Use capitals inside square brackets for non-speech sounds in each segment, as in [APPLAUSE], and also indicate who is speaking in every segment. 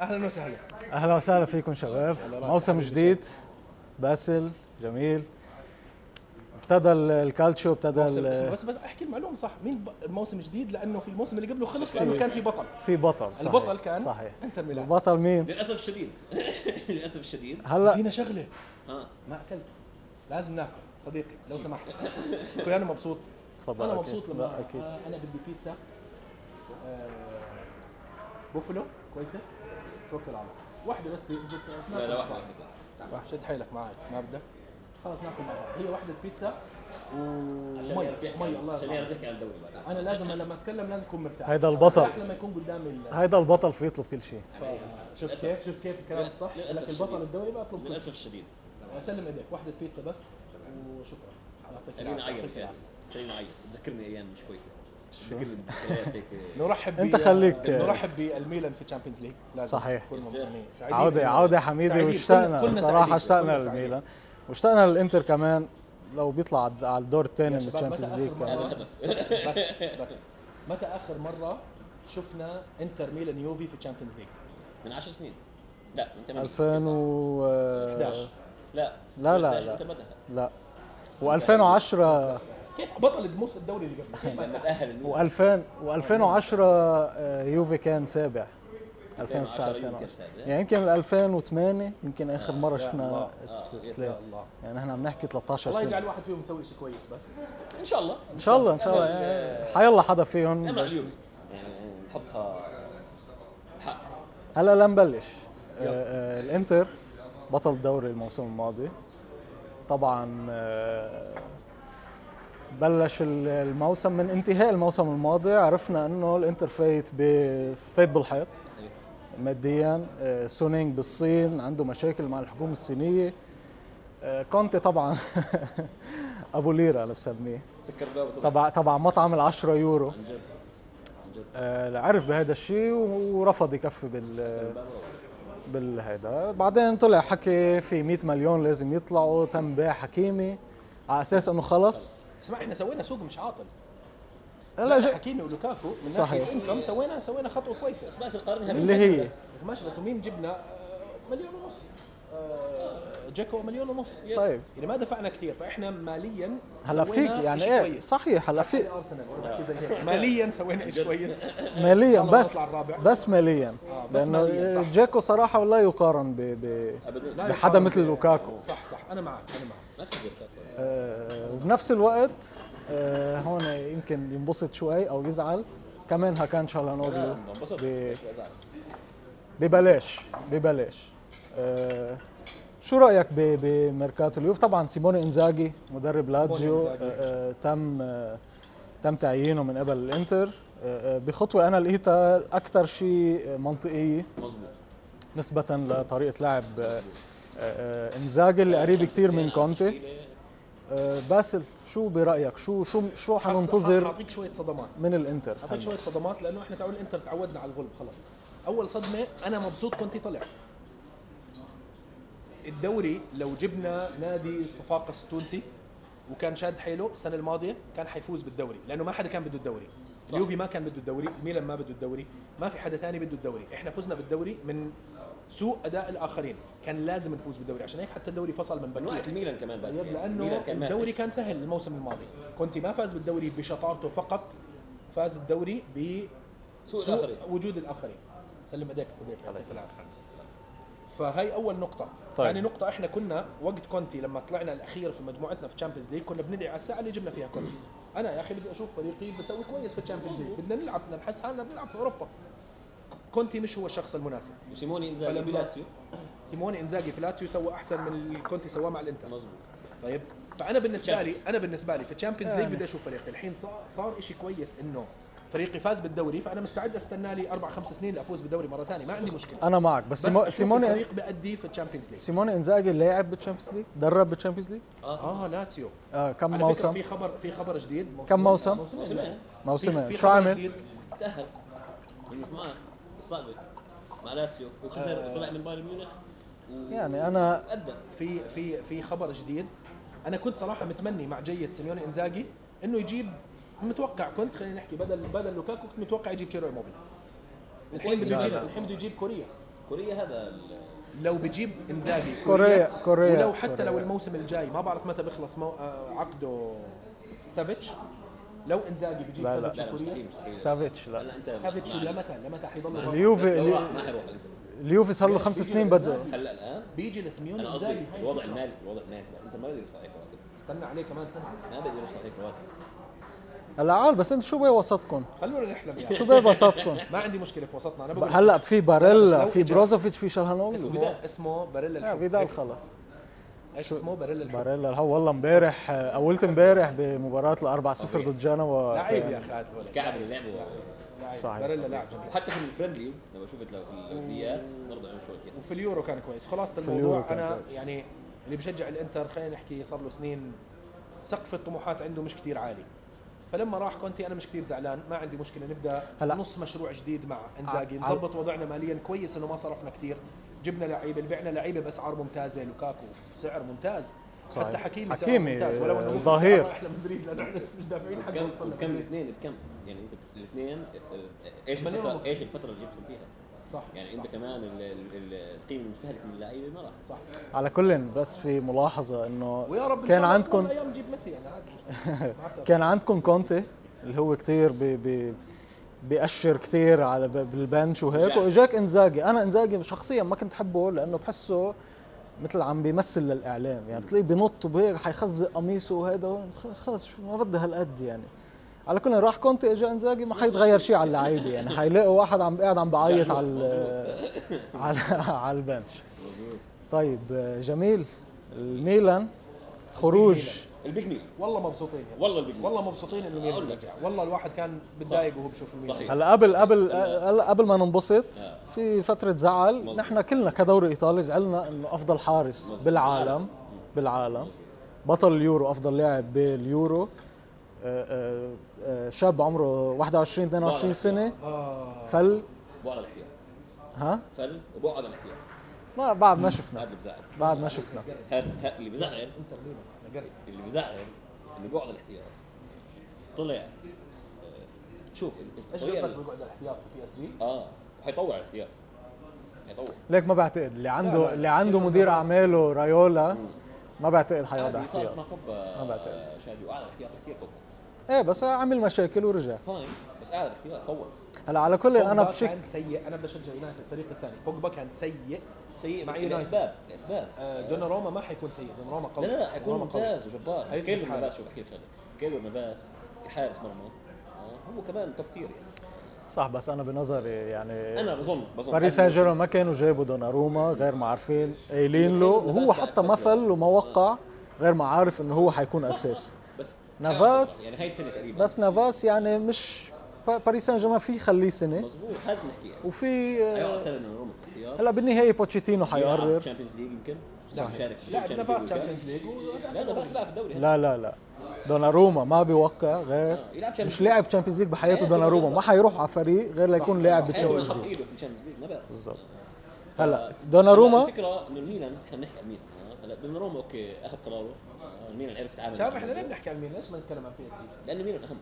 Speaker 1: اهلا وسهلا
Speaker 2: اهلا وسهلا فيكم شباب موسم جديد باسل جميل ابتدى ال- الكالتشو ابتدى
Speaker 1: بس, بس,
Speaker 2: ال-
Speaker 1: بس, بس احكي المعلومه صح مين ب- الموسم جديد لانه في الموسم اللي قبله خلص
Speaker 2: إيه.
Speaker 1: لانه كان في بطل
Speaker 2: في بطل صحيح.
Speaker 1: البطل كان
Speaker 2: صحيح
Speaker 1: انتر ميلان
Speaker 2: البطل مين
Speaker 3: للاسف الشديد [LAUGHS] للاسف الشديد
Speaker 2: هلا
Speaker 1: نسينا شغله
Speaker 3: ها
Speaker 1: ما اكلت لازم ناكل صديقي لو سمحت كنت انا مبسوط
Speaker 2: تفضل
Speaker 1: انا
Speaker 2: أكيد.
Speaker 1: مبسوط
Speaker 2: لا،
Speaker 1: لما
Speaker 2: اكيد
Speaker 1: أنا- انا بدي بيتزا آه، بوفلو كويسه توكل على الله واحده بس بي- بت-
Speaker 3: لا لا واحده واحده بس
Speaker 1: تعال، شد حيلك معي ما بدك خلص ناكل مع بعض هي واحده بيتزا
Speaker 3: عشان
Speaker 1: ومي
Speaker 3: يعرف يحكي
Speaker 1: مي الله
Speaker 3: عشان
Speaker 1: يرحمك
Speaker 3: يعرف يحكي عن الدوري بعدين
Speaker 1: انا لازم لما اتكلم لازم اكون مرتاح
Speaker 2: هيدا البطل.
Speaker 1: مرتاح لما يكون قدامي ال-
Speaker 2: هيدا البطل في يطلب كل شيء
Speaker 1: ف- شفت كيف شفت كيف الكلام الصح
Speaker 3: للأسف
Speaker 1: لك البطل
Speaker 3: شديد.
Speaker 1: الدوري بطلب كل
Speaker 3: للاسف الشديد
Speaker 1: شيء. اسلم ايديك واحده بيتزا بس وشكرا يعطيك
Speaker 3: خليني
Speaker 1: العافية،
Speaker 3: اعيط
Speaker 1: يعطيك العافية.
Speaker 3: خليني اعيط تذكرني ايام مش كويسه تذكرني بذكريات هيك
Speaker 1: نرحب
Speaker 2: أنت
Speaker 1: ب-
Speaker 2: خليك-
Speaker 1: نرحب بالميلان في تشامبيونز ليج لازم
Speaker 2: صحيح.
Speaker 1: كلنا
Speaker 3: بالظبط.
Speaker 1: يعني سعيدين
Speaker 2: عودة
Speaker 1: بالميلان.
Speaker 2: عودة حميدة
Speaker 1: سعيدين. كلنا-
Speaker 2: واشتقنا
Speaker 1: كلنا
Speaker 2: صراحة
Speaker 1: سعيدين.
Speaker 2: اشتقنا
Speaker 1: كلنا سعيدين.
Speaker 2: للميلان واشتقنا للانتر كمان لو بيطلع على- على الدور الثاني
Speaker 1: يا
Speaker 2: من
Speaker 1: شباب، متى
Speaker 2: الشامبيونز
Speaker 1: آخر
Speaker 2: ليج
Speaker 1: مرة-
Speaker 2: كمان
Speaker 3: بس
Speaker 1: بس بس متى اخر مره شفنا انتر ميلان يوفي في تشامبيونز ليج
Speaker 3: من 10 سنين لا من 8
Speaker 2: 2000 و
Speaker 1: 11
Speaker 3: لا
Speaker 2: لا، لا،
Speaker 3: 11
Speaker 2: لا.
Speaker 3: متى بدها
Speaker 2: لا
Speaker 1: يعني
Speaker 2: و2010
Speaker 1: كيف بطل الموسم الدوري اللي قبل كيف ما
Speaker 3: يعني لما
Speaker 1: تأهل؟
Speaker 3: تاهل الميلان
Speaker 2: و2000 و2010 آه، يوفي كان سابع 2009
Speaker 3: يمكن
Speaker 2: 2010
Speaker 3: سابع.
Speaker 2: يعني يمكن 2008 يمكن اخر مره شفنا
Speaker 1: الله.
Speaker 3: آه،
Speaker 2: الت-
Speaker 3: يا
Speaker 2: التلاته.
Speaker 1: الله.
Speaker 2: يعني احنا عم نحكي 13
Speaker 1: الله
Speaker 2: سنه
Speaker 1: يجعل واحد فيهم يسوي شيء كويس بس
Speaker 3: ان شاء الله
Speaker 2: ان شاء الله ان شاء الله يعني حيلا حدا فيهم
Speaker 3: نمرق
Speaker 2: بس
Speaker 3: اليوم يعني نحطها حق
Speaker 2: هلا لنبلش آه، آه، الانتر بطل الدوري الموسم الماضي طبعا آه، بلش ال- الموسم من انتهاء الموسم الماضي عرفنا انه الانتر فايت ب- فايت بالحيط ماديا آه، سونينج بالصين عنده مشاكل مع الحكومه الصينيه آه، كونتي [LAUGHS] طبعا ابو ليره انا بسميه
Speaker 3: سكر باب وطلع.
Speaker 2: تبع تبع مطعم ال10 يورو
Speaker 3: عن جد عن جد
Speaker 2: آه، عرف بهذا الشيء ورفض يكفي بال
Speaker 3: باب روعة.
Speaker 2: بالهيدا بعدين طلع حكي في 100 مليون لازم يطلعوا تم بيع حكيمي على اساس انه خلص
Speaker 1: اسمع احنا سوينا سوق مش عاطل
Speaker 2: هلا ج-
Speaker 1: حكيمي ولوكاكو من
Speaker 2: صحيح.
Speaker 1: ناحيه انكم سوينا سوينا خطوه كويسه
Speaker 3: بس القارنها
Speaker 2: اللي هي
Speaker 1: ماشي بس ومين جبنا آه، مليون ونص آه، جاكو مليون ونص
Speaker 2: طيب.
Speaker 1: يعني ما دفعنا كتير فاحنا ماليا
Speaker 2: هلا فيك
Speaker 1: سوينا
Speaker 2: يعني
Speaker 1: إشي
Speaker 2: ايه
Speaker 1: كويس.
Speaker 2: صحيح هلا في
Speaker 1: أرسنال، وأنا بحكي زي هيك. ماليا إيه؟ سوينا شيء كويس
Speaker 2: ماليا
Speaker 1: إن شاء الله
Speaker 2: بس
Speaker 1: نطلع الرابع.
Speaker 2: بس ماليا
Speaker 1: آه، بس
Speaker 2: لانه
Speaker 1: مالياً، صح.
Speaker 2: جاكو صراحه لا يقارن ب ب
Speaker 3: ابدا
Speaker 1: لا
Speaker 2: بحدا
Speaker 1: يقارن
Speaker 2: مثل
Speaker 1: ب-
Speaker 2: لوكاكو.
Speaker 1: صح صح انا معك انا معك
Speaker 3: ما في غير كاكو
Speaker 2: آه، وبنفس الوقت آه، هون يمكن ينبسط شوي او يزعل كمان هاكان شالانوغلو
Speaker 3: انبسط
Speaker 2: ب-
Speaker 3: شوي زعل.
Speaker 2: ببلاش ببلاش آه، شو رايك ب- بميركاتو اليوف طبعا سيموني انزاجي مدرب لاتزيو آه،
Speaker 1: إنزاغي.
Speaker 2: آه، تم آه، تم تعيينه من قبل الانتر آه، آه، بخطوه انا لقيتها اكثر شيء منطقيه
Speaker 3: مظبوط
Speaker 2: نسبه لطريقه لعب آه، آه، آه، انزاجي اللي قريب كثير من كونتي آه، باسل شو برايك شو شو شو حننتظر
Speaker 1: اعطيك شويه صدمات
Speaker 2: من الانتر
Speaker 1: اعطيك شويه صدمات لانه احنا تعود الانتر تعودنا على الغلب خلاص اول صدمه انا مبسوط كنت طلع الدوري لو جبنا نادي الصفاقس التونسي وكان شاد حيله السنه الماضيه كان حيفوز بالدوري لانه ما حدا كان بده الدوري اليوفي ما كان بده الدوري ميلان ما بده الدوري ما في حدا ثاني بده الدوري احنا فزنا بالدوري من سوء اداء الاخرين كان لازم نفوز بالدوري عشان هيك حتى الدوري فصل من
Speaker 3: من
Speaker 1: بكير
Speaker 3: وقت الميلان كمان بس
Speaker 1: طيب
Speaker 3: يعني
Speaker 1: لانه
Speaker 3: الميلان كان ماسك.
Speaker 1: الدوري كان سهل الموسم الماضي كونتي ما فاز بالدوري بشطارته فقط فاز الدوري ب
Speaker 3: سوء
Speaker 1: سوء
Speaker 3: الآخرين.
Speaker 1: وجود الاخرين سلم ايديك صديقي يعطيك العافيه فهي اول نقطة،
Speaker 2: طيب.
Speaker 1: ثاني نقطة احنا كنا وقت كونتي لما طلعنا الأخير في مجموعتنا في تشامبيونز ليج كنا بندعي على الساعة اللي جبنا فيها كونتي، أنا يا أخي بدي أشوف فريقي بسوي كويس في تشامبيونز ليج، بدنا نلعب بدنا نحس حالنا بنلعب في أوروبا. كونتي مش هو الشخص المناسب،
Speaker 3: وسيموني انزاجي
Speaker 1: فلما-
Speaker 3: بلاتسيو
Speaker 1: سيموني انزاجي في لاتسيو سوى أحسن من اللي كونتي سواه مع الإنتر.
Speaker 3: مظبوط
Speaker 1: طيب فانا بالنسبه لي انا بالنسبه لي في الشامبيونز
Speaker 2: آه.
Speaker 1: ليج بدي اشوف فريقي الحين صار صار شيء كويس انه فريقي فاز بالدوري فانا مستعد استنى لي اربع خمس سنين لافوز بالدوري مره ثانيه ما عندي مشكله
Speaker 2: انا معك
Speaker 1: بس
Speaker 2: بس, آه، سيمو-
Speaker 1: أشوف
Speaker 2: سيموني
Speaker 1: الفريق بيأدي في الشامبيونز ليج
Speaker 2: سيموني انزاجي لاعب بالتشامبيونز ليج درب بالتشامبيونز ليج
Speaker 1: اه لاتسيو
Speaker 2: آه كم
Speaker 1: على فكره
Speaker 2: موسم
Speaker 1: في خبر في خبر جديد
Speaker 2: كم موسم؟
Speaker 3: موسمين
Speaker 2: موسمين شو عامل
Speaker 3: تاهل انك معاه الصعبه مع لاتسيو وخسر
Speaker 2: آه.
Speaker 3: طلع من بايرن ميونخ
Speaker 2: يعني انا
Speaker 3: ادى
Speaker 1: في في في خبر جديد انا كنت صراحه متمني مع جيد سيميوني انزاجي انه يجيب متوقع كنت خلينا نحكي بدل بدل لوكاكو كنت متوقع يجيب تشيرو موبيل الحين بده يجيب الحين بده يجيب كوريا
Speaker 3: كوريا هذا ال-
Speaker 1: لو بجيب انزاجي
Speaker 2: كوريا- كوريا-
Speaker 1: ولو حتى
Speaker 2: كوريا.
Speaker 1: لو الموسم الجاي ما بعرف متى بيخلص مو... آه، عقده سافيتش لو انزاجي بجيب
Speaker 2: لا، لا.
Speaker 1: سافيتش
Speaker 3: لا لا مستحيل
Speaker 1: كوريا
Speaker 3: مستحيل
Speaker 2: سافيتش لا
Speaker 3: هلا انت
Speaker 1: سافيتش
Speaker 3: معلش.
Speaker 1: لمتى لمتى حيضل برا؟
Speaker 2: اليوفي
Speaker 3: لو راح
Speaker 2: اليو-
Speaker 3: ما حيروح الانتر
Speaker 2: اليوفي صار له خمس
Speaker 1: بيجي
Speaker 2: سنين
Speaker 1: الإنزاجي.
Speaker 2: بده
Speaker 3: هلا الان
Speaker 1: بيجي لسيميوني
Speaker 3: انا
Speaker 1: انزاجي
Speaker 3: قصدي
Speaker 1: هاي
Speaker 3: الوضع
Speaker 1: الفكرة.
Speaker 3: المالي الوضع المالي انت ما بقدر تدفع هيك رواتب
Speaker 1: استنى عليه كمان سنه
Speaker 3: ما بقدر يدفع هيك رواتب
Speaker 2: هلا عال بس انت شو بوسطكم؟
Speaker 1: خلونا نحلم يعني
Speaker 2: شو بوسطكم؟
Speaker 1: ما عندي مشكله في وسطنا انا بقول
Speaker 2: هلا في باريلا
Speaker 1: بس لو
Speaker 2: في
Speaker 1: إجا-
Speaker 2: بروزوفيتش في شالهانوغلو
Speaker 1: اسمه اسمه باريلا
Speaker 2: آه،
Speaker 1: الحب
Speaker 2: فيدال
Speaker 1: هيك اسمه.
Speaker 2: خلص
Speaker 1: ايش اسمه باريلا الحب
Speaker 2: باريلا هو والله امبارح آه، اولت امبارح بمباراة الأربعة صفر ضد جنوا
Speaker 1: لعيب يا اخي هذا الولد
Speaker 3: الكعب اللي لعبه
Speaker 1: لعيب.
Speaker 2: صحيح.
Speaker 1: باريلا لاعب جميل
Speaker 3: وحتى في الفرندليز لما شفت لو في الوديات برضه عمل شوي كده
Speaker 1: وفي اليورو كان كويس خلاصة
Speaker 2: اليورو
Speaker 1: الموضوع
Speaker 2: كان
Speaker 1: انا
Speaker 2: كويس.
Speaker 1: يعني اللي بشجع الانتر خلينا نحكي صار له سنين سقف الطموحات عنده مش كتير عالي فلما راح كونتي انا مش كتير زعلان ما عندي مشكله نبدا
Speaker 2: هلا. آه،
Speaker 1: هلا. نص مشروع جديد مع انزاجي
Speaker 2: ع-
Speaker 1: نظبط وضعنا ماليا كويس انه ما صرفنا كتير جبنا لعيبه بعنا لعيبه باسعار ممتازه لوكاكو سعر ممتاز
Speaker 2: صحيح.
Speaker 1: حتى حكيمي سعر
Speaker 2: حكيمي،
Speaker 1: ممتاز ولو انه نص
Speaker 2: ظهير.
Speaker 1: السعر راح لمدريد لانه احنا مش دافعين حقه
Speaker 3: كم
Speaker 1: وصلنا
Speaker 3: كم
Speaker 1: مدريد.
Speaker 3: الاثنين بكم يعني انت الاثنين آه، ايش
Speaker 1: مليون
Speaker 3: الفتره
Speaker 1: ونص.
Speaker 3: ايش الفتره اللي جبتهم فيها
Speaker 1: صح
Speaker 3: يعني انت كمان ال- ال- ال- القيمه المستهلكه من اللعيبه ما راح
Speaker 1: صح
Speaker 2: على كل بس في ملاحظة انه
Speaker 1: ويا رب إن شاء
Speaker 2: كان
Speaker 1: الله
Speaker 2: عندكم
Speaker 1: يوم من الايام نجيب ميسي انا عادي
Speaker 2: [LAUGHS]
Speaker 1: ما بتعرف.
Speaker 2: كان عندكم كونتي اللي هو كثير بي بي بيأشر كثير على ب- بالبنش وهيك
Speaker 3: جاك.
Speaker 2: واجاك انزاجي انا انزاجي شخصيا ما كنت حبه لانه بحسه مثل عم بيمثل للاعلام يعني بتلاقيه بينط وهيك حيخزق قميصه وهذا هون، خلص خلص شو ما بدها هالقد يعني على كل راح كونتي اجا انزاجي ما حيتغير شيء على اللعيبه يعني حيلاقوا واحد عم قاعد عم بعيط على ال- [LAUGHS] على على البنش طيب آه، جميل الميلان خروج
Speaker 3: البيج ميل
Speaker 1: والله مبسوطين يعني.
Speaker 3: والله البيج ميل
Speaker 1: والله مبسوطين انه ميلان
Speaker 3: أقول لك.
Speaker 1: رجع والله الواحد كان متضايق وهو بشوف الميلان
Speaker 3: صحيح.
Speaker 2: هلا قبل قبل هلا قبل ما ننبسط
Speaker 3: آه.
Speaker 2: في فترة زعل
Speaker 3: مظبوط.
Speaker 2: نحن كلنا كدوري ايطالي زعلنا انه افضل حارس
Speaker 3: مظبوط.
Speaker 2: بالعالم بالعالم بطل اليورو افضل لاعب باليورو آه، آه، آه، شاب عمره 21 22
Speaker 3: بعد
Speaker 2: سنة
Speaker 1: آه.
Speaker 2: فل
Speaker 3: بوعد على الاحتياط
Speaker 2: ها
Speaker 3: فل وبوعد على الاحتياط
Speaker 1: نعم.
Speaker 2: ما بعد ما
Speaker 3: هذا
Speaker 2: شفنا
Speaker 3: اللي بزعل
Speaker 2: بعد ما شفنا
Speaker 3: هذا هذا اللي بزعل
Speaker 1: انتر ميلان احنا قريب
Speaker 3: اللي بزعل انه بوعد على الاحتياط طلع آه، شوف
Speaker 1: ايش
Speaker 3: الطريقة
Speaker 1: قصدك
Speaker 3: اللي-
Speaker 1: بقعد الاحتياط في بي اس جي؟
Speaker 3: اه حيطول على الاحتياط حيطول
Speaker 2: ليك ما بعتقد اللي
Speaker 1: لا،
Speaker 2: عنده
Speaker 1: لا.
Speaker 2: اللي عنده مدير اعماله رايولا ما بعتقد حيقعد
Speaker 1: يعني
Speaker 3: هذه
Speaker 2: احتياط
Speaker 3: يعني صارت مع كوبا
Speaker 2: ما بعتقد.
Speaker 3: شادي وقعد على الاحتياط كثير طول
Speaker 2: ايه بس عمل مشاكل ورجع
Speaker 3: فاين بس قاعد على الاحتياط طول
Speaker 2: هلا على كل انا
Speaker 1: بوجبا
Speaker 2: بشك
Speaker 1: كان سيء انا بدي اشجع يونايتد الفريق الثاني بوجبا كان سيء
Speaker 3: سيء
Speaker 1: مع
Speaker 3: مع
Speaker 1: يونايتد.
Speaker 3: الاسباب الاسباب
Speaker 1: آه، دوناروما ما حيكون سيء دوناروما
Speaker 3: لا
Speaker 1: قوي
Speaker 3: لا لا يكون
Speaker 1: دوناروما قوي.
Speaker 3: ممتاز وجبار بس
Speaker 1: هاي
Speaker 3: كيلو
Speaker 1: الحالة.
Speaker 3: نافاس شوف احكي لك شغله كيلو نافاس كحارس مرمى آه، هو كمان توب تير يعني
Speaker 2: صح بس انا بنظري يعني
Speaker 3: انا بظن بظن
Speaker 2: باريس سان جيرمان ما كانوا جابوا دوناروما غير ما عارفين قايلين له وهو حتى ما فل وما وقع غير ما عارف انه هو حيكون اساسي
Speaker 3: بس
Speaker 2: نافاس.
Speaker 3: يعني هاي السنه تقريبا
Speaker 2: بس نافاس يعني مش با- باريس سان جيرمان في خليه سنه
Speaker 3: مظبوط هذا اللي نحكي يعني
Speaker 2: وفي آه،
Speaker 3: ايوه سنه انه روما احتياط
Speaker 2: هلا بالنهايه بوتشيتينو حيقرر
Speaker 3: تشامبيونز ليج يمكن
Speaker 2: صحيح.
Speaker 3: مشارك
Speaker 1: لاعب
Speaker 3: Champions
Speaker 1: نافاس
Speaker 3: League
Speaker 1: تشامبيونز
Speaker 3: والكاس.
Speaker 1: ليج
Speaker 3: لا نافاس لا في الدوري
Speaker 2: لا لا لا دوناروما ما بيوقع غير
Speaker 3: آه، يلعب Champions
Speaker 2: مش لاعب تشامبيونز ليج بحياته
Speaker 3: إيه،
Speaker 2: دوناروما ما حيروح على فريق غير ليكون لاعب
Speaker 3: هاي هو
Speaker 2: بالتشامبيونز
Speaker 3: حط
Speaker 2: ليج
Speaker 3: ايده في الشامبيونز ليج ما بعرف
Speaker 2: بالضبط هلا دوناروما
Speaker 3: الفكره انه الميلان احنا بنحكي عن الميلان آه، هلا دوناروما اوكي اخذ قراره آه، الميلان عرف يتعامل
Speaker 1: شباب
Speaker 3: مع
Speaker 1: احنا ليه
Speaker 3: الموضوع.
Speaker 1: بنحكي عن ميلان؟ ليش ما نتكلم عن بي اس جي؟
Speaker 3: لانه الميلان اهم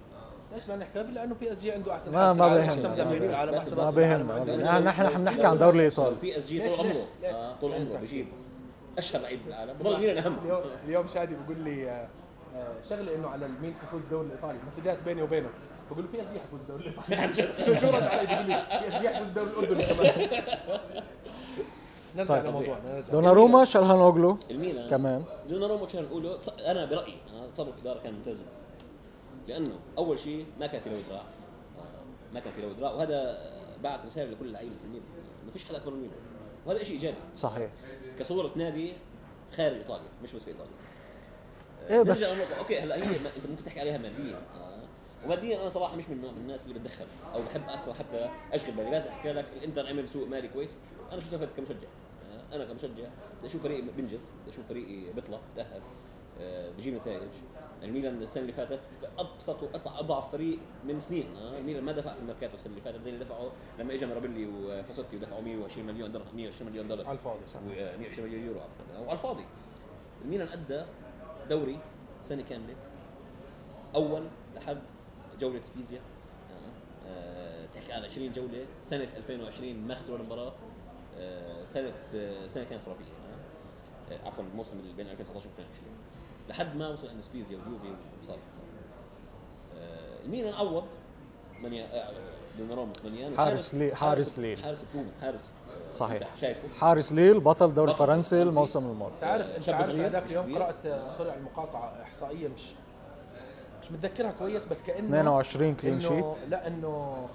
Speaker 1: ليش ما نحكي لانه بي اس جي عنده احسن
Speaker 2: ما-
Speaker 1: حارس
Speaker 2: ما
Speaker 1: العالم،
Speaker 2: بيهمنا.
Speaker 1: احسن مدافعين
Speaker 2: ما
Speaker 1: العالم
Speaker 3: بيهمنا.
Speaker 1: احسن
Speaker 3: ما
Speaker 1: راس العالم
Speaker 2: بيهمنا.
Speaker 1: عنده.
Speaker 2: نحن- نحن عم نحكي عن دوري إيطالي.
Speaker 3: بي اس جي
Speaker 1: ليش-
Speaker 3: طول عمره
Speaker 1: ليش- ليش؟
Speaker 3: آه، طول عمره
Speaker 1: ليش؟
Speaker 3: بجيب اشهر لعيب في العالم بضل الميلان اهم
Speaker 1: اليوم اليوم شادي بقول لي آه، آه، شغله انه على مين حيفوز الدوري الايطالي مسجات بيني وبينه بقول له بي اس جي حيفوز الدوري الايطالي
Speaker 3: عن جد
Speaker 1: [LAUGHS] شو شو رد علي بيقول لي بي اس جي حيفوز الدوري الاردني كمان نرجع
Speaker 2: طيب.
Speaker 1: لموضوعنا نرجع
Speaker 2: دوناروما شالهانوغلو
Speaker 3: الميلان
Speaker 2: كمان
Speaker 3: دوناروما كان نقوله انا برايي أنا تصرف اداره كان ممتاز جداً. لانه اول شيء ما كان في له دراع آه، ما كان في له دراع وهذا آه، بعت رساله لكل اللعيبه في الميلان ما فيش حدا اكبر من الميلان وهذا شيء ايجابي
Speaker 2: صحيح
Speaker 3: كصوره نادي خارج ايطاليا مش بس في ايطاليا آه،
Speaker 2: إيه بس-
Speaker 3: نرجع للنقطة. اوكي هلا هي ما- انت ممكن تحكي عليها ماديا آه، وماديا انا صراحه مش من نوع من الناس اللي بتدخل او بحب اصلا حتى اشغل بالي بس احكي لك الانتر عمل سوق مالي كويس انا شو استفدت كمشجع آه، انا كمشجع بدي اشوف فريقي بنجز بدي اشوف فريقي بيطلع بتاهل آه، بجيب نتائج الميلان السنه اللي فاتت في ابسط واطلع اضعف فريق من سنين آه، الميلان ما دفع في الميركاتو السنه اللي فاتت زي اللي دفعوا لما اجى مرابلي وفاسوتي ودفعوا 120 مليون درهم 120 مليون دولار
Speaker 1: على الفاضي صح.
Speaker 3: و 120 مليون يورو عفوا وعلى الفاضي الميلان ادى دوري سنه كامله اول لحد جوله سبيزيا آه، آه، تحكي عن 20 جوله سنه 2020 ما خسروا ولا مباراه آه، سنه آه، سنه كانت خرافيه آه، آه، عفوا الموسم اللي بين 2019 و 2020 لحد ما وصل اندسبيزيا ويوفي وصار صار آه، الميلان عوض منيا آه، دوناروما منيان
Speaker 2: حارس لي- حارس ليل.
Speaker 3: حارس بروفن حارس آه،
Speaker 2: صحيح.
Speaker 3: أنت شايفه
Speaker 2: حارس ليل بطل دوري
Speaker 3: بطل
Speaker 2: الفرنسي
Speaker 3: فرنسي.
Speaker 2: الموسم الماضي
Speaker 1: انت عارف انت
Speaker 3: شاب
Speaker 1: عارف
Speaker 3: صغير،
Speaker 1: هذاك
Speaker 3: مش
Speaker 1: اليوم
Speaker 3: كبير.
Speaker 1: قرات آه، طلع المقاطعه احصائيه مش مش متذكرها كويس بس كانه
Speaker 2: 22 كلين
Speaker 1: إنه-
Speaker 2: شيت
Speaker 1: لا انه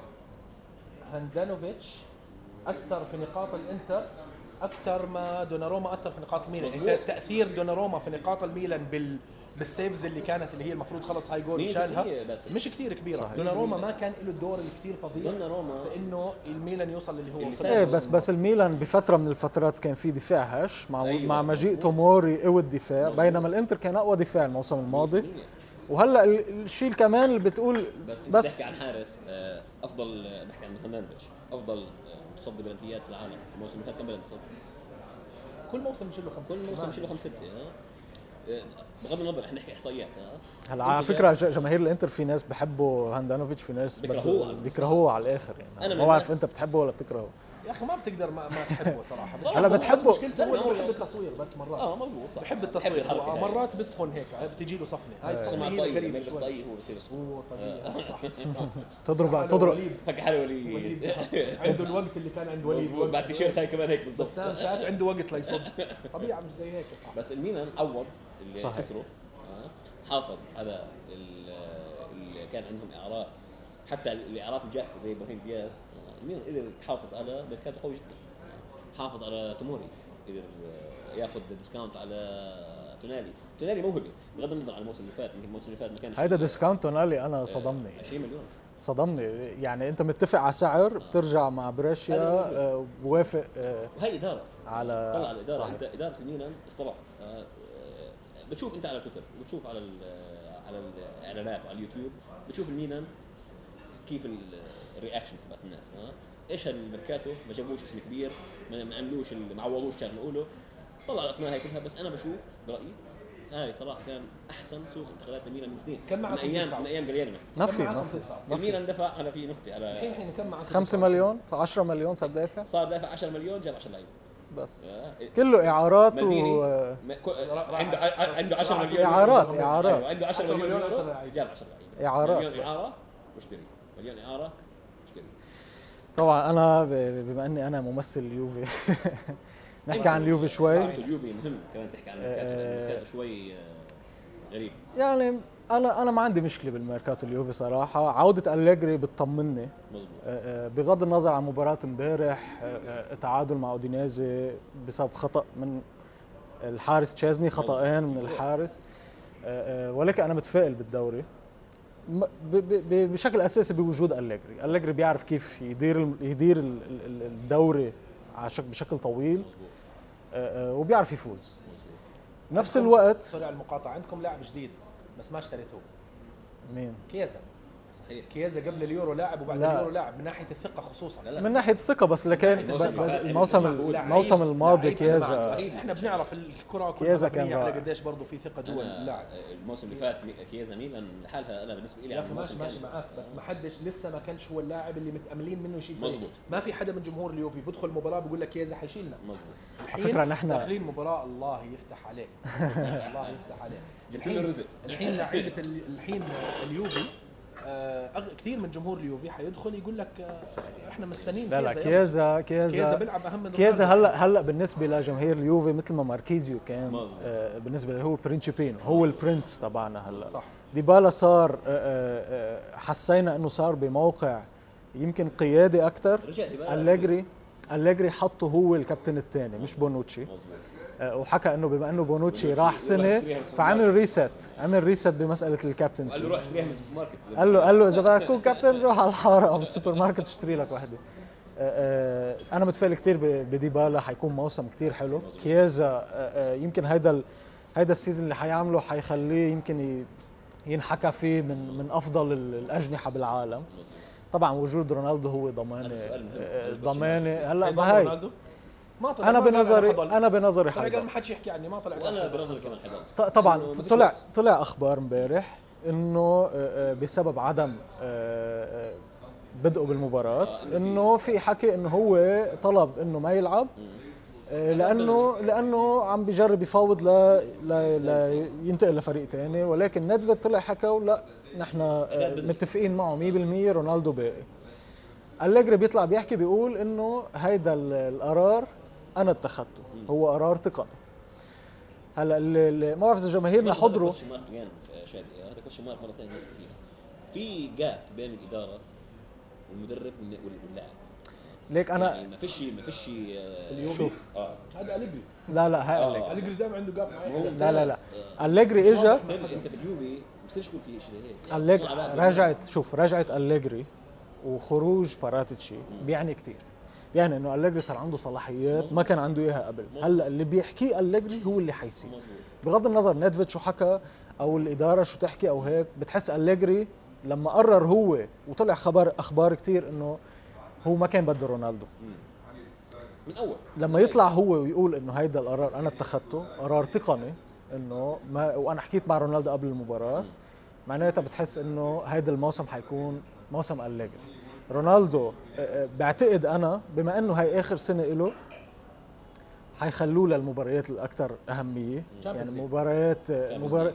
Speaker 1: هاندانوفيتش اثر في نقاط الانتر اكثر ما دوناروما اثر في نقاط الميلان
Speaker 3: مظبوط.
Speaker 1: يعني تاثير دوناروما في نقاط الميلان بال بالسيفز اللي كانت اللي هي المفروض خلص هاي جول
Speaker 3: 100%
Speaker 1: شالها
Speaker 3: بس.
Speaker 1: مش كثير كبيره
Speaker 2: صحيح.
Speaker 1: دوناروما ما كان له الدور الكثير فظيع
Speaker 3: دوناروما
Speaker 1: في انه الميلان يوصل اللي هو
Speaker 3: اللي
Speaker 1: وصل
Speaker 3: فات.
Speaker 1: له
Speaker 2: ايه
Speaker 1: الموسم
Speaker 2: بس بس الميلان بفتره من الفترات كان في دفاع هش مع
Speaker 3: أيوة.
Speaker 2: مع مجيء توموري قوي الدفاع
Speaker 3: مظبوط.
Speaker 2: بينما الانتر كان اقوى دفاع الموسم الماضي
Speaker 3: 100%.
Speaker 2: وهلا ال- الشيء كمان اللي بتقول
Speaker 3: بس انت
Speaker 2: بس
Speaker 3: بتحكي عن حارس آه، افضل آه، بحكي عن هرنانديش افضل آه، متصدي بلنتيات في العالم الموسم اللي فات كان بلنتي
Speaker 1: كل موسم شيله خمسه
Speaker 3: كل موسم شيله خمسة ستة ها؟ آه، بغض النظر احنا نحكي آه. احصائيات ها
Speaker 2: هلا على
Speaker 3: أنت جاي-
Speaker 2: فكره ج- جماهير الانتر في ناس بحبوا هاندانوفيتش في ناس بده-
Speaker 3: بيكرهوه على-
Speaker 2: بيكرهوه على الاخر يعني
Speaker 3: أنا
Speaker 2: انا
Speaker 3: من
Speaker 2: ما بعرف
Speaker 3: الناس-
Speaker 2: انت بتحبه ولا بتكرهه
Speaker 1: يا اخي ما بتقدر ما, ما تحبه [LAUGHS] صراحه
Speaker 3: صراحة
Speaker 2: هلا
Speaker 1: بس
Speaker 2: بتحبه.
Speaker 1: مشكلته هو إنه
Speaker 3: بتحبه.
Speaker 1: بحب التصوير بس مرات
Speaker 3: اه مظبوط صح
Speaker 1: بحب آه. التصوير
Speaker 3: الحركة
Speaker 1: هو
Speaker 3: هاي.
Speaker 1: مرات بسفن هيك بتجي له صفنه هاي الصفنه
Speaker 3: مع
Speaker 1: هي
Speaker 3: طيب
Speaker 1: الغريبه
Speaker 3: بس
Speaker 1: شوي
Speaker 3: طيب هو بصير صفور
Speaker 1: هو طبيعي صح
Speaker 3: [LAUGHS]
Speaker 2: تضرب تضرب
Speaker 1: وليد
Speaker 3: فك حاله
Speaker 1: وليد [LAUGHS]
Speaker 3: وليد
Speaker 1: عنده الوقت اللي كان عند وليد
Speaker 3: [LAUGHS] مظبوط.
Speaker 1: وقت.
Speaker 3: بعد تيشيرت هاي كمان هيك بالضبط
Speaker 1: بسام شات عنده وقت ليصد طبيعه مش زي هيك صح
Speaker 3: بس الميلان عوض اللي
Speaker 2: صحيح.
Speaker 3: خسره آه، حافظ على ال- اللي كان عندهم اعارات حتى الاعارات الجافه زي ابراهيم دياز آه، الميلان قدر يحافظ على بركاته قوي جدا حافظ على توموري قدر آه، ياخذ ديسكاونت على تونالي تونالي موهبه بغض النظر عن الموسم اللي فات يمكن الموسم اللي فات ما كانش
Speaker 2: هيدا ديسكاونت تونالي انا صدمني
Speaker 3: 20 مليون
Speaker 2: صدمني يعني انت متفق على سعر بترجع مع بريشيا
Speaker 3: هذا موجود.
Speaker 2: آه، بوافق آه،
Speaker 3: وهي اداره
Speaker 2: على
Speaker 3: طلع الاداره
Speaker 2: صحيح.
Speaker 3: انت اداره الميلان الصراحه آه، آه، بتشوف انت على تويتر وبتشوف على ال آه، على الاعلانات وعلى اليوتيوب بتشوف الميلان كيف ال- الرياكشنز تبعت الناس ها ايش هالميركاتو ما جابوش اسم كبير ما ما عملوش ال- ما عوضوش كان نقوله طلع الاسماء هاي كلها بس انا بشوف برايي هاي صراحه كان احسن سوق انتقالات الميلان من سنين
Speaker 1: كان
Speaker 3: من
Speaker 1: معكم
Speaker 3: ايام
Speaker 1: تدفعوا.
Speaker 3: من ايام جرياني
Speaker 2: ما
Speaker 1: كم
Speaker 2: في ما
Speaker 1: معكم
Speaker 2: في
Speaker 1: تدفع؟
Speaker 2: ما في
Speaker 3: الميلان دفع على في نكته
Speaker 1: الحين
Speaker 3: على
Speaker 1: الحين كم معك
Speaker 2: 5 مليون 10 مليون صار دافع
Speaker 3: صار دافع 10 مليون جاب 10 لعيبه
Speaker 2: بس
Speaker 3: آه،
Speaker 2: كله اعارات و
Speaker 3: مالديني ما- كو-
Speaker 1: راح-
Speaker 3: عنده ع- عنده 10
Speaker 1: راح-
Speaker 3: مليون
Speaker 2: إعارات،
Speaker 3: يورو.
Speaker 2: إعارات.
Speaker 3: أيوة، عنده
Speaker 1: 10
Speaker 3: 10 مليون
Speaker 1: مليون
Speaker 3: يورو،
Speaker 1: 10 لعيبة.
Speaker 3: جاب 10 لعيبه
Speaker 2: إعارات
Speaker 3: مليون
Speaker 2: بس.
Speaker 3: اعاره واشتري مليون اعاره واشتري
Speaker 2: طبعا انا ب- بما اني انا ممثل اليوفي [LAUGHS] نحكي عن اليوفي شوي آه،
Speaker 3: انتوا اليوفي مهم كمان تحكي عن الميركاتو، لأن الميركاتو شوي آه، غريب
Speaker 2: يعني انا انا ما عندي مشكله بالميركاتو اليوفي صراحه عوده اليجري بتطمني
Speaker 3: مظبوط
Speaker 2: آه، آه، بغض النظر عن مباراة امبارح آه، آه، تعادل مع اودينيزي بسبب خطأ من الحارس تشيزني خطأين من الحارس آه، آه، ولكن انا متفائل بالدوري م- ب- ب- ب- بشكل اساسي بوجود اليجري، اليجري بيعرف كيف يدير الم- يدير ال- ال- ال- الدوري على شك- بشكل طويل آه، آه، وبيعرف يفوز نفس الوقت
Speaker 1: سوري على المقاطعه عندكم لاعب جديد بس ما اشتريته
Speaker 2: مين
Speaker 1: كيزا
Speaker 3: صحيح
Speaker 1: كيزا قبل اليورو لاعب وبعد
Speaker 2: لا.
Speaker 1: اليورو لاعب من ناحيه الثقه خصوصا
Speaker 3: لا لا
Speaker 2: من ناحيه الثقه بس لكن
Speaker 1: من
Speaker 2: ب-
Speaker 1: ناحية
Speaker 2: بس
Speaker 3: الثقة.
Speaker 2: الموسم
Speaker 1: لعيب- إيه،
Speaker 2: الموسم الماضي
Speaker 1: لعيب أنا معك،
Speaker 2: كيازا
Speaker 1: بس احنا بنعرف الكره كلها
Speaker 2: كيازا كان
Speaker 1: مبنيه على
Speaker 2: رائع.
Speaker 1: قديش برضه في ثقه جوا
Speaker 3: أنا،
Speaker 1: اللاعب
Speaker 3: آه، الموسم اللي فات مي- كيزا ميلان لحالها انا بالنسبه لي
Speaker 1: يا
Speaker 3: عمل
Speaker 1: اخي ماشي
Speaker 3: موسم
Speaker 1: ماشي
Speaker 3: كامل.
Speaker 1: معك بس ما حدش لسه ما كانش هو اللاعب اللي متاملين منه يشيل فريق.
Speaker 3: مظبوط.
Speaker 1: ما في حدا من جمهور اليوفي بيدخل مباراه بيقول لك كيزا حيشيلنا
Speaker 3: مظبوط
Speaker 1: الحين
Speaker 2: فكرة نحن-
Speaker 1: داخلين مباراه الله يفتح عليك الله يفتح [LAUGHS] عليك
Speaker 3: جبت له رزق.
Speaker 1: الحين لعيبه ال- الحين اليوفي آه أغ- كثير من جمهور اليوفي حيدخل يقول لك آه احنا مستنين
Speaker 2: لا لا
Speaker 1: كيزا،
Speaker 2: كيازا
Speaker 1: كيزا
Speaker 2: كيازا
Speaker 1: بيلعب اهم من
Speaker 2: كيازا
Speaker 1: رونالدو.
Speaker 2: هلا هلا بالنسبه لجماهير اليوفي مثل ما ماركيزيو كان
Speaker 3: مظبوط.
Speaker 2: آه بالنسبه له هو برينشيبينو هو البرنس تبعنا هلا
Speaker 1: صح.
Speaker 2: ديبالا صار آه، آه، آه، حسينا انه صار بموقع يمكن قيادي اكثر
Speaker 3: رجع ديبالا.
Speaker 2: أليجري أليجري حطه هو الكابتن الثاني مش بونوتشي
Speaker 3: مظبوط
Speaker 2: آه، وحكى انه بما انه بونوتشي
Speaker 3: بونوتشي
Speaker 2: راح
Speaker 3: يلا
Speaker 2: سنه
Speaker 3: اشتريها من السوبر
Speaker 2: فعمل ريست عمل ريست بمساله
Speaker 3: قال له
Speaker 2: الكابتنسي
Speaker 3: روح اشتريها من السوبر ماركت
Speaker 2: قال له قال له اذا بدك تكون كابتن روح على الحاره او السوبر ماركت اشتري لك وحده آه، آه، انا متفائل كثير ب- بديبالا حيكون موسم كثير حلو كيازا آه، آه، يمكن هيدا ال- هيدا السيزون اللي حيعمله حيخليه يمكن ي- ينحكى فيه من من افضل ال- الاجنحه بالعالم
Speaker 3: مظبوط.
Speaker 2: طبعا وجود رونالدو هو
Speaker 3: هذا
Speaker 2: ضمانه
Speaker 3: سؤال مهم.
Speaker 2: آه،
Speaker 3: بس
Speaker 2: ضمانه هلا
Speaker 1: حيضل
Speaker 2: بهاي
Speaker 1: رونالدو؟ ما طلع
Speaker 2: انا
Speaker 1: ما طلع
Speaker 2: بنظري
Speaker 1: حضل.
Speaker 2: انا بنظري
Speaker 1: طلع قال
Speaker 2: حيضل
Speaker 1: ما حدش يحكي عني ما طلع
Speaker 3: وانا
Speaker 1: قال
Speaker 3: بنظري كمان حيضل
Speaker 2: ط- طبعا
Speaker 3: إنه ما فيش
Speaker 2: طلع
Speaker 3: وقت.
Speaker 2: طلع اخبار امبارح انه آه، آه، بسبب عدم آه، آه، بدءه بالمباراه
Speaker 3: آه، إنه في
Speaker 2: انه في حكي انه هو طلب انه ما يلعب آه، لانه لانه عم بجرب يفاوض ل ل- لينتقل لفريق ثاني ولكن نيدفيد طلع حكى لا نحن آه، متفقين معه 100% رونالدو باقي أليجري بيطلع بيحكي بيقول انه هيدا ال- القرار انا اتخذته هو قرار تقني هلا ال- ال- ما بعرف اذا جماهيرنا حضروا
Speaker 3: question mark again في يعني، شادي هذا question mark مره ثانيه نحكي فيها في جاب بين الاداره والمدرب والن- واللاعب
Speaker 2: ليك
Speaker 3: يعني
Speaker 2: انا
Speaker 3: ما فيش ما فيش
Speaker 1: اليوم.
Speaker 2: شوف.
Speaker 3: اه
Speaker 1: هذا اليجري
Speaker 2: لا لا هاي
Speaker 3: آه.
Speaker 2: أليجري
Speaker 1: اليجري دائما عنده جاب
Speaker 3: ما هو
Speaker 1: معين
Speaker 2: لا لا لا
Speaker 3: آه.
Speaker 2: أليجري اجا
Speaker 3: still انت في اليوفي ما بصيرش يكون في شيء زي هيك يعني
Speaker 2: أليج...
Speaker 3: خصوصاً على هذا
Speaker 2: رجعت شوف رجعت أليجري وخروج باراتيتشي بيعني كثير يعني انه أليجري صار عنده صلاحيات ما كان عنده اياها قبل هلا اللي بيحكيه أليجري هو اللي حيصير
Speaker 3: مظبوط.
Speaker 2: بغض النظر نيدفيد شو حكى او الاداره شو تحكي او هيك بتحس أليجري لما قرر هو وطلع خبر اخبار كثير انه هو ما كان بده رونالدو
Speaker 3: من اول
Speaker 2: لما يطلع هو ويقول انه هيدا القرار انا اتخذته قرار تقني انه ما وانا حكيت مع رونالدو قبل المباراه معناتها بتحس انه هيدا الموسم حيكون موسم أليجري رونالدو آه، آه، بعتقد انا بما انه هي اخر سنه له حيخلوه للمباريات الاكثر اهميه يعني
Speaker 1: League.
Speaker 2: مباريات آه، مبار...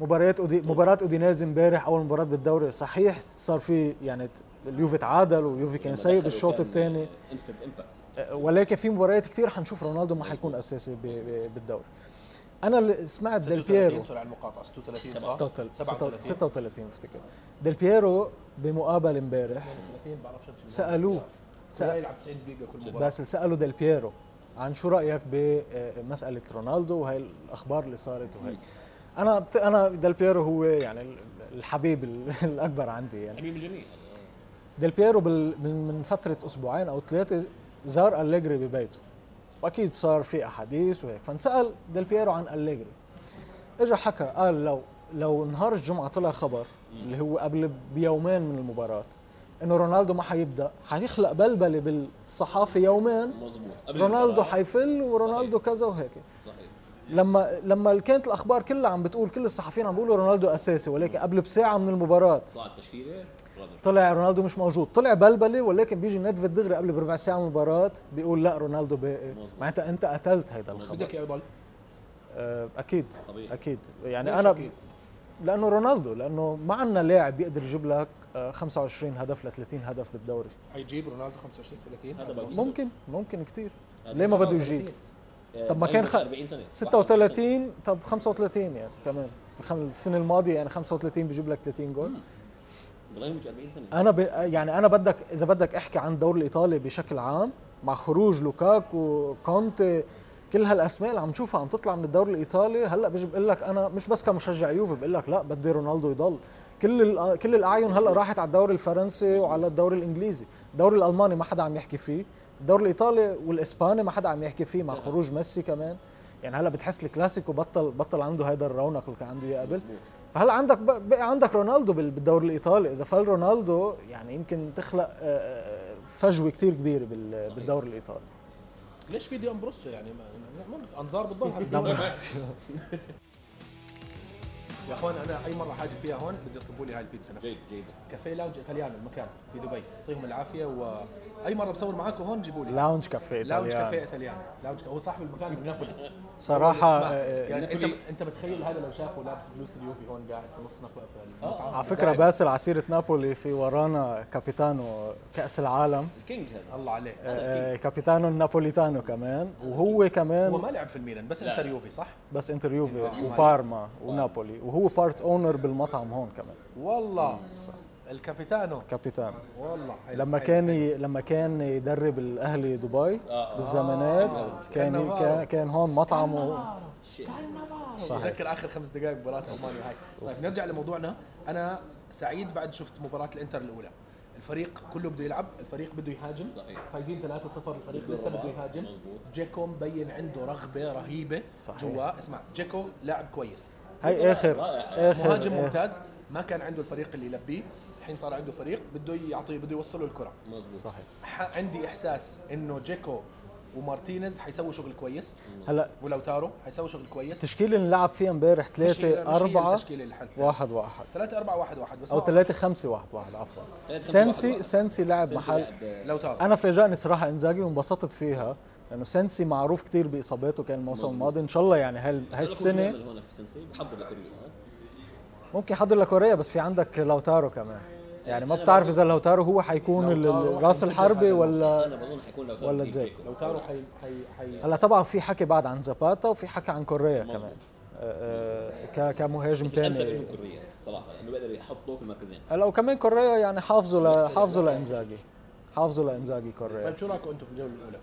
Speaker 2: مباريات أودي... مباراه اودينيز امبارح اول مباراه بالدوري صحيح صار في يعني ت- اليوفي تعادل واليوفي كان
Speaker 3: لما
Speaker 2: سيء
Speaker 3: دخلوا
Speaker 2: بالشوط
Speaker 3: كان
Speaker 2: الثاني
Speaker 3: instant impact.
Speaker 2: ولكن في مباريات كثير حنشوف رونالدو ما حيكون اساسي ب- ب- بالدوري انا اللي سمعت ديل
Speaker 1: 36
Speaker 2: بييرو
Speaker 1: سوري على المقاطعه 36 صح؟
Speaker 2: 36
Speaker 1: 37
Speaker 2: 36 بفتكر ديل بييرو بمقابله امبارح
Speaker 1: 30 بعرفش شو
Speaker 2: سألوه. سأل-
Speaker 1: سأل يلعب 90 دقيقه كل مباراه
Speaker 2: باسل سالوا ديل بييرو عن شو رايك بمساله رونالدو وهي الاخبار اللي صارت وهي انا بت- انا ديل بييرو هو يعني ال- الحبيب ال- [LAUGHS] الاكبر عندي يعني
Speaker 3: حبيب الجميع
Speaker 2: ديل بييرو بال- من من فتره اسبوعين او ثلاثه زار أليجري ببيته واكيد صار في احاديث وهيك فانسال ديل بييرو عن أليجري اجى حكى قال لو لو نهار الجمعه طلع خبر اللي هو قبل بيومين من المباراه انه رونالدو ما حيبدا حيخلق بلبله بالصحافه يومين
Speaker 3: مظبوط قبل
Speaker 2: رونالدو
Speaker 3: المباراة.
Speaker 2: حيفل ورونالدو كذا وهيك
Speaker 3: صحيح
Speaker 2: لما لما كانت الاخبار كلها عم بتقول كل الصحفيين عم بيقولوا رونالدو اساسي ولكن قبل بساعه من المباراه
Speaker 3: طلعت التشكيله رونالدو
Speaker 2: طلع رونالدو مش موجود طلع بلبله ولكن بيجي نيدفيد دغري قبل بربع ساعه من المباراه بيقول لا رونالدو باقي
Speaker 3: مظبوط.
Speaker 2: معناتها انت قتلت هيدا الخبر
Speaker 1: بدك اياه يضل
Speaker 2: أه، اكيد
Speaker 3: طبيعي.
Speaker 2: اكيد يعني
Speaker 1: ليش
Speaker 2: انا
Speaker 1: أكيد؟
Speaker 2: لانه رونالدو لانه ما عندنا لاعب بيقدر يجيب لك أه، 25 هدف ل 30 هدف بالدوري
Speaker 1: حيجيب رونالدو 25 30
Speaker 3: هذا بقى.
Speaker 1: موسم.
Speaker 2: ممكن ممكن كثير
Speaker 3: هذا
Speaker 2: ليه ما
Speaker 3: مش
Speaker 2: بده يجيب
Speaker 3: آه،
Speaker 2: طب ما كان خ-
Speaker 3: 40 سنه
Speaker 2: 36 طب 35 يعني كمان بخم- السنه الماضيه يعني 35 بيجيب لك 30 جول
Speaker 3: ابراهيموفيتش 40 سنه
Speaker 2: انا ب... يعني انا بدك اذا بدك احكي عن الدوري الايطالي بشكل عام مع خروج لوكاكو كونتي كل هالاسماء اللي عم نشوفها عم تطلع من الدوري الايطالي هلا بيجي بقول لك انا مش بس كمشجع يوفي بقول لك لا بدي رونالدو يضل كل ال... كل الاعين هلا راحت على الدوري الفرنسي وعلى الدوري الانجليزي الدوري الالماني ما حدا عم يحكي فيه الدوري الايطالي والاسباني ما حدا عم يحكي فيه مع خروج ميسي كمان يعني هلا بتحس الكلاسيكو بطل بطل عنده هيدا الرونق اللي كان عنده اياه قبل فهلا عندك بق- بقى عندك رونالدو بال- بالدوري الايطالي اذا فل رونالدو يعني يمكن تخلق آه، آه، فجوه كتير كبيره بال- بالدوري الايطالي
Speaker 1: [LAUGHS] ليش في دي امبروسو يعني ما ما- ما- انظار
Speaker 2: نعم.
Speaker 1: بتضل
Speaker 2: دمبروسيو.
Speaker 1: يا اخوان انا اي مره حاجه فيها هون بدي يطلبوا لي هاي البيتزا نفسها
Speaker 3: جيد جيد
Speaker 1: كافيه لاونج ايطاليان المكان في دبي يعطيهم العافيه واي مره بصور معاكم هون جيبوا لي
Speaker 2: لاونج كافيه
Speaker 1: لاونج
Speaker 2: إيطاليان.
Speaker 1: كافيه ايطاليان لاونج كافيه هو صاحب المكان من نابولي
Speaker 2: صراحه
Speaker 1: اسمع،
Speaker 2: آه، آه،
Speaker 1: يعني انت
Speaker 3: نابولي.
Speaker 1: انت متخيل هذا لو شافه لابس بلوس اليوفي هون قاعد في نص نقوه
Speaker 2: آه.
Speaker 1: في المطعم
Speaker 2: على فكره
Speaker 1: قاعد.
Speaker 2: باسل عسيره نابولي في ورانا كابيتانو كاس العالم
Speaker 3: الكينج هذا
Speaker 1: الله عليه
Speaker 2: آه، آه، كابيتانو النابوليتانو كمان وهو
Speaker 1: هو
Speaker 2: كمان
Speaker 1: ما لعب في الميلان بس
Speaker 3: لا.
Speaker 1: انتر يوفي صح؟
Speaker 2: بس انتر يوفي وبارما ونابولي وهو بارت اونر بالمطعم هون كمان
Speaker 1: والله الكابيتانو
Speaker 2: كابيتانو
Speaker 1: والله حلو.
Speaker 2: لما
Speaker 1: حلو.
Speaker 2: كان ي... لما كان يدرب الاهلي دبي
Speaker 3: آه.
Speaker 2: بالزمانات كان
Speaker 1: كان
Speaker 2: كان, كان هون مطعمه صحيح.
Speaker 1: بتذكر اخر خمس دقائق مباراه المانيا هاي طيب نرجع لموضوعنا انا سعيد بعد شفت مباراه الانتر الاولى الفريق كله بده يلعب الفريق بده يهاجم
Speaker 3: صحيح.
Speaker 1: فايزين 3-0 الفريق
Speaker 3: بده
Speaker 1: لسه بده
Speaker 3: ربع.
Speaker 1: يهاجم
Speaker 3: مظبوط.
Speaker 1: جيكو مبين عنده رغبه رهيبه
Speaker 2: صحيح.
Speaker 1: جوا اسمع جيكو لاعب كويس
Speaker 2: هاي اخر
Speaker 3: رائع.
Speaker 2: اخر
Speaker 1: مهاجم
Speaker 2: آخر-
Speaker 1: ممتاز ما كان عنده الفريق اللي يلبيه الحين صار عنده فريق بده يعطيه بده يوصله الكره
Speaker 3: مظبوط
Speaker 2: صحيح
Speaker 1: ح- عندي احساس انه جيكو ومارتينيز حيسوي شغل كويس
Speaker 2: هلا
Speaker 1: ولو تارو حيسوي شغل كويس
Speaker 2: التشكيل اللي انلعب فيه امبارح
Speaker 1: مش هي-
Speaker 2: 3
Speaker 1: مش هي
Speaker 2: 4
Speaker 1: التشكيله اللي حلت
Speaker 2: واحد واحد
Speaker 1: 3 4 1 1 بس
Speaker 2: او
Speaker 1: ما أعرف.
Speaker 2: 3 5 واحد واحد عفوا
Speaker 3: ثلاثة خمسة واحد
Speaker 2: سنسي
Speaker 3: واحد.
Speaker 2: سنسي لعب
Speaker 3: سنسي
Speaker 2: محل
Speaker 3: لعب-
Speaker 1: لو تارو
Speaker 2: انا فاجئني صراحه انزاجي وانبسطت فيها لانه سنسي معروف كتير باصاباته كان الموسم
Speaker 3: مظبوط.
Speaker 2: الماضي ان شاء الله يعني هال هالسنه
Speaker 3: بيعمل هون في سنسي بحضر لكوريا ها؟
Speaker 2: ممكن يحضر لكوريا بس في عندك لوتارو كمان يعني ما
Speaker 3: أنا
Speaker 2: بتعرف
Speaker 3: بظن-
Speaker 2: اذا لوتارو هو حيكون ال-
Speaker 1: لوتارو
Speaker 2: ال- راس
Speaker 1: حينفجر
Speaker 2: الحربي
Speaker 1: هذا
Speaker 2: ولا
Speaker 3: انا بظن حيكون لو
Speaker 2: ولا
Speaker 3: تارو
Speaker 2: تزاي.
Speaker 1: لو تارو حي حي حي
Speaker 2: هلا طبعا في حكي بعد عن زاباتا وفي حكي عن كوريا
Speaker 3: مظبوط. إيه؟
Speaker 2: كمان آه، آه، ك- كمهاجم
Speaker 3: الانسب
Speaker 2: ثاني
Speaker 3: انه كوريا صراحه لانه بيقدر يحطه يعني في المركزين
Speaker 2: هلا وكمان كوريا يعني حافظوا ل... حافظوا لانزاجي حافظوا لانزاجي كوريا
Speaker 1: طيب شو رايكم انتم في الجوله الاولى؟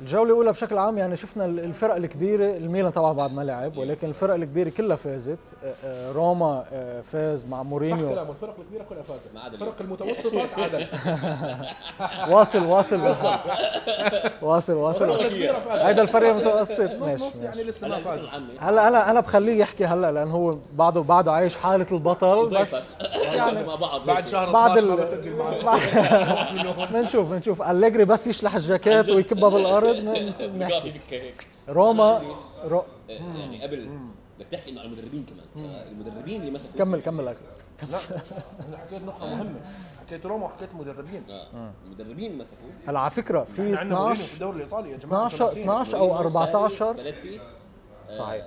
Speaker 2: الجولة الأولى بشكل عام يعني شفنا ال- الفرق الكبيرة الميلان طبعا بعد ما لعب ولكن الفرق الكبيرة كلها فازت آه، آه، روما آه، فاز مع
Speaker 1: صح
Speaker 2: مورينيو
Speaker 1: كلامه الفرق الكبيره كلها فازت
Speaker 3: ما عدا
Speaker 1: الفرق
Speaker 3: اليوم.
Speaker 1: المتوسطه تعادل
Speaker 2: واصل واصل واصل
Speaker 1: الفرق
Speaker 2: واصل
Speaker 1: الكبيره فازت
Speaker 2: هيدا الفرق المتوسط
Speaker 1: نص نص
Speaker 2: ماشي
Speaker 1: يعني
Speaker 2: ماشي.
Speaker 1: لسه ما فاز
Speaker 3: عمي
Speaker 2: هلا انا انا بخليه يحكي هلا لان هو بعده بعده عايش حالة البطل
Speaker 3: [LAUGHS]
Speaker 2: بس
Speaker 3: يعني مع بعض
Speaker 1: بعد
Speaker 3: [LAUGHS]
Speaker 1: شهر
Speaker 2: بعد
Speaker 1: 12 ما
Speaker 2: ال-
Speaker 1: بسجل معك
Speaker 2: [LAUGHS] بنشوف بنشوف أليجري بس يشلح الجاكيت ويكبها بالارض
Speaker 3: [LAUGHS]
Speaker 2: بنس- بنحكي.
Speaker 3: بيقع في فكه هيك
Speaker 2: روما رو...
Speaker 3: إيه، يعني قبل بدك تحكي انه على المدربين كمان المدربين اللي مسكوا
Speaker 2: كمل كمل أكل.
Speaker 1: لا انا حكيت نقطه مهمه حكيت روما وحكيت مدربين
Speaker 3: آه، المدربين مسكوا
Speaker 2: هلا على فكرة في
Speaker 1: احنا عندنا مورينيو في
Speaker 2: 12
Speaker 1: الدوري الايطالي يا جماعه
Speaker 2: 12
Speaker 1: 12
Speaker 2: 12 او 14
Speaker 3: بلدتي
Speaker 2: صحيح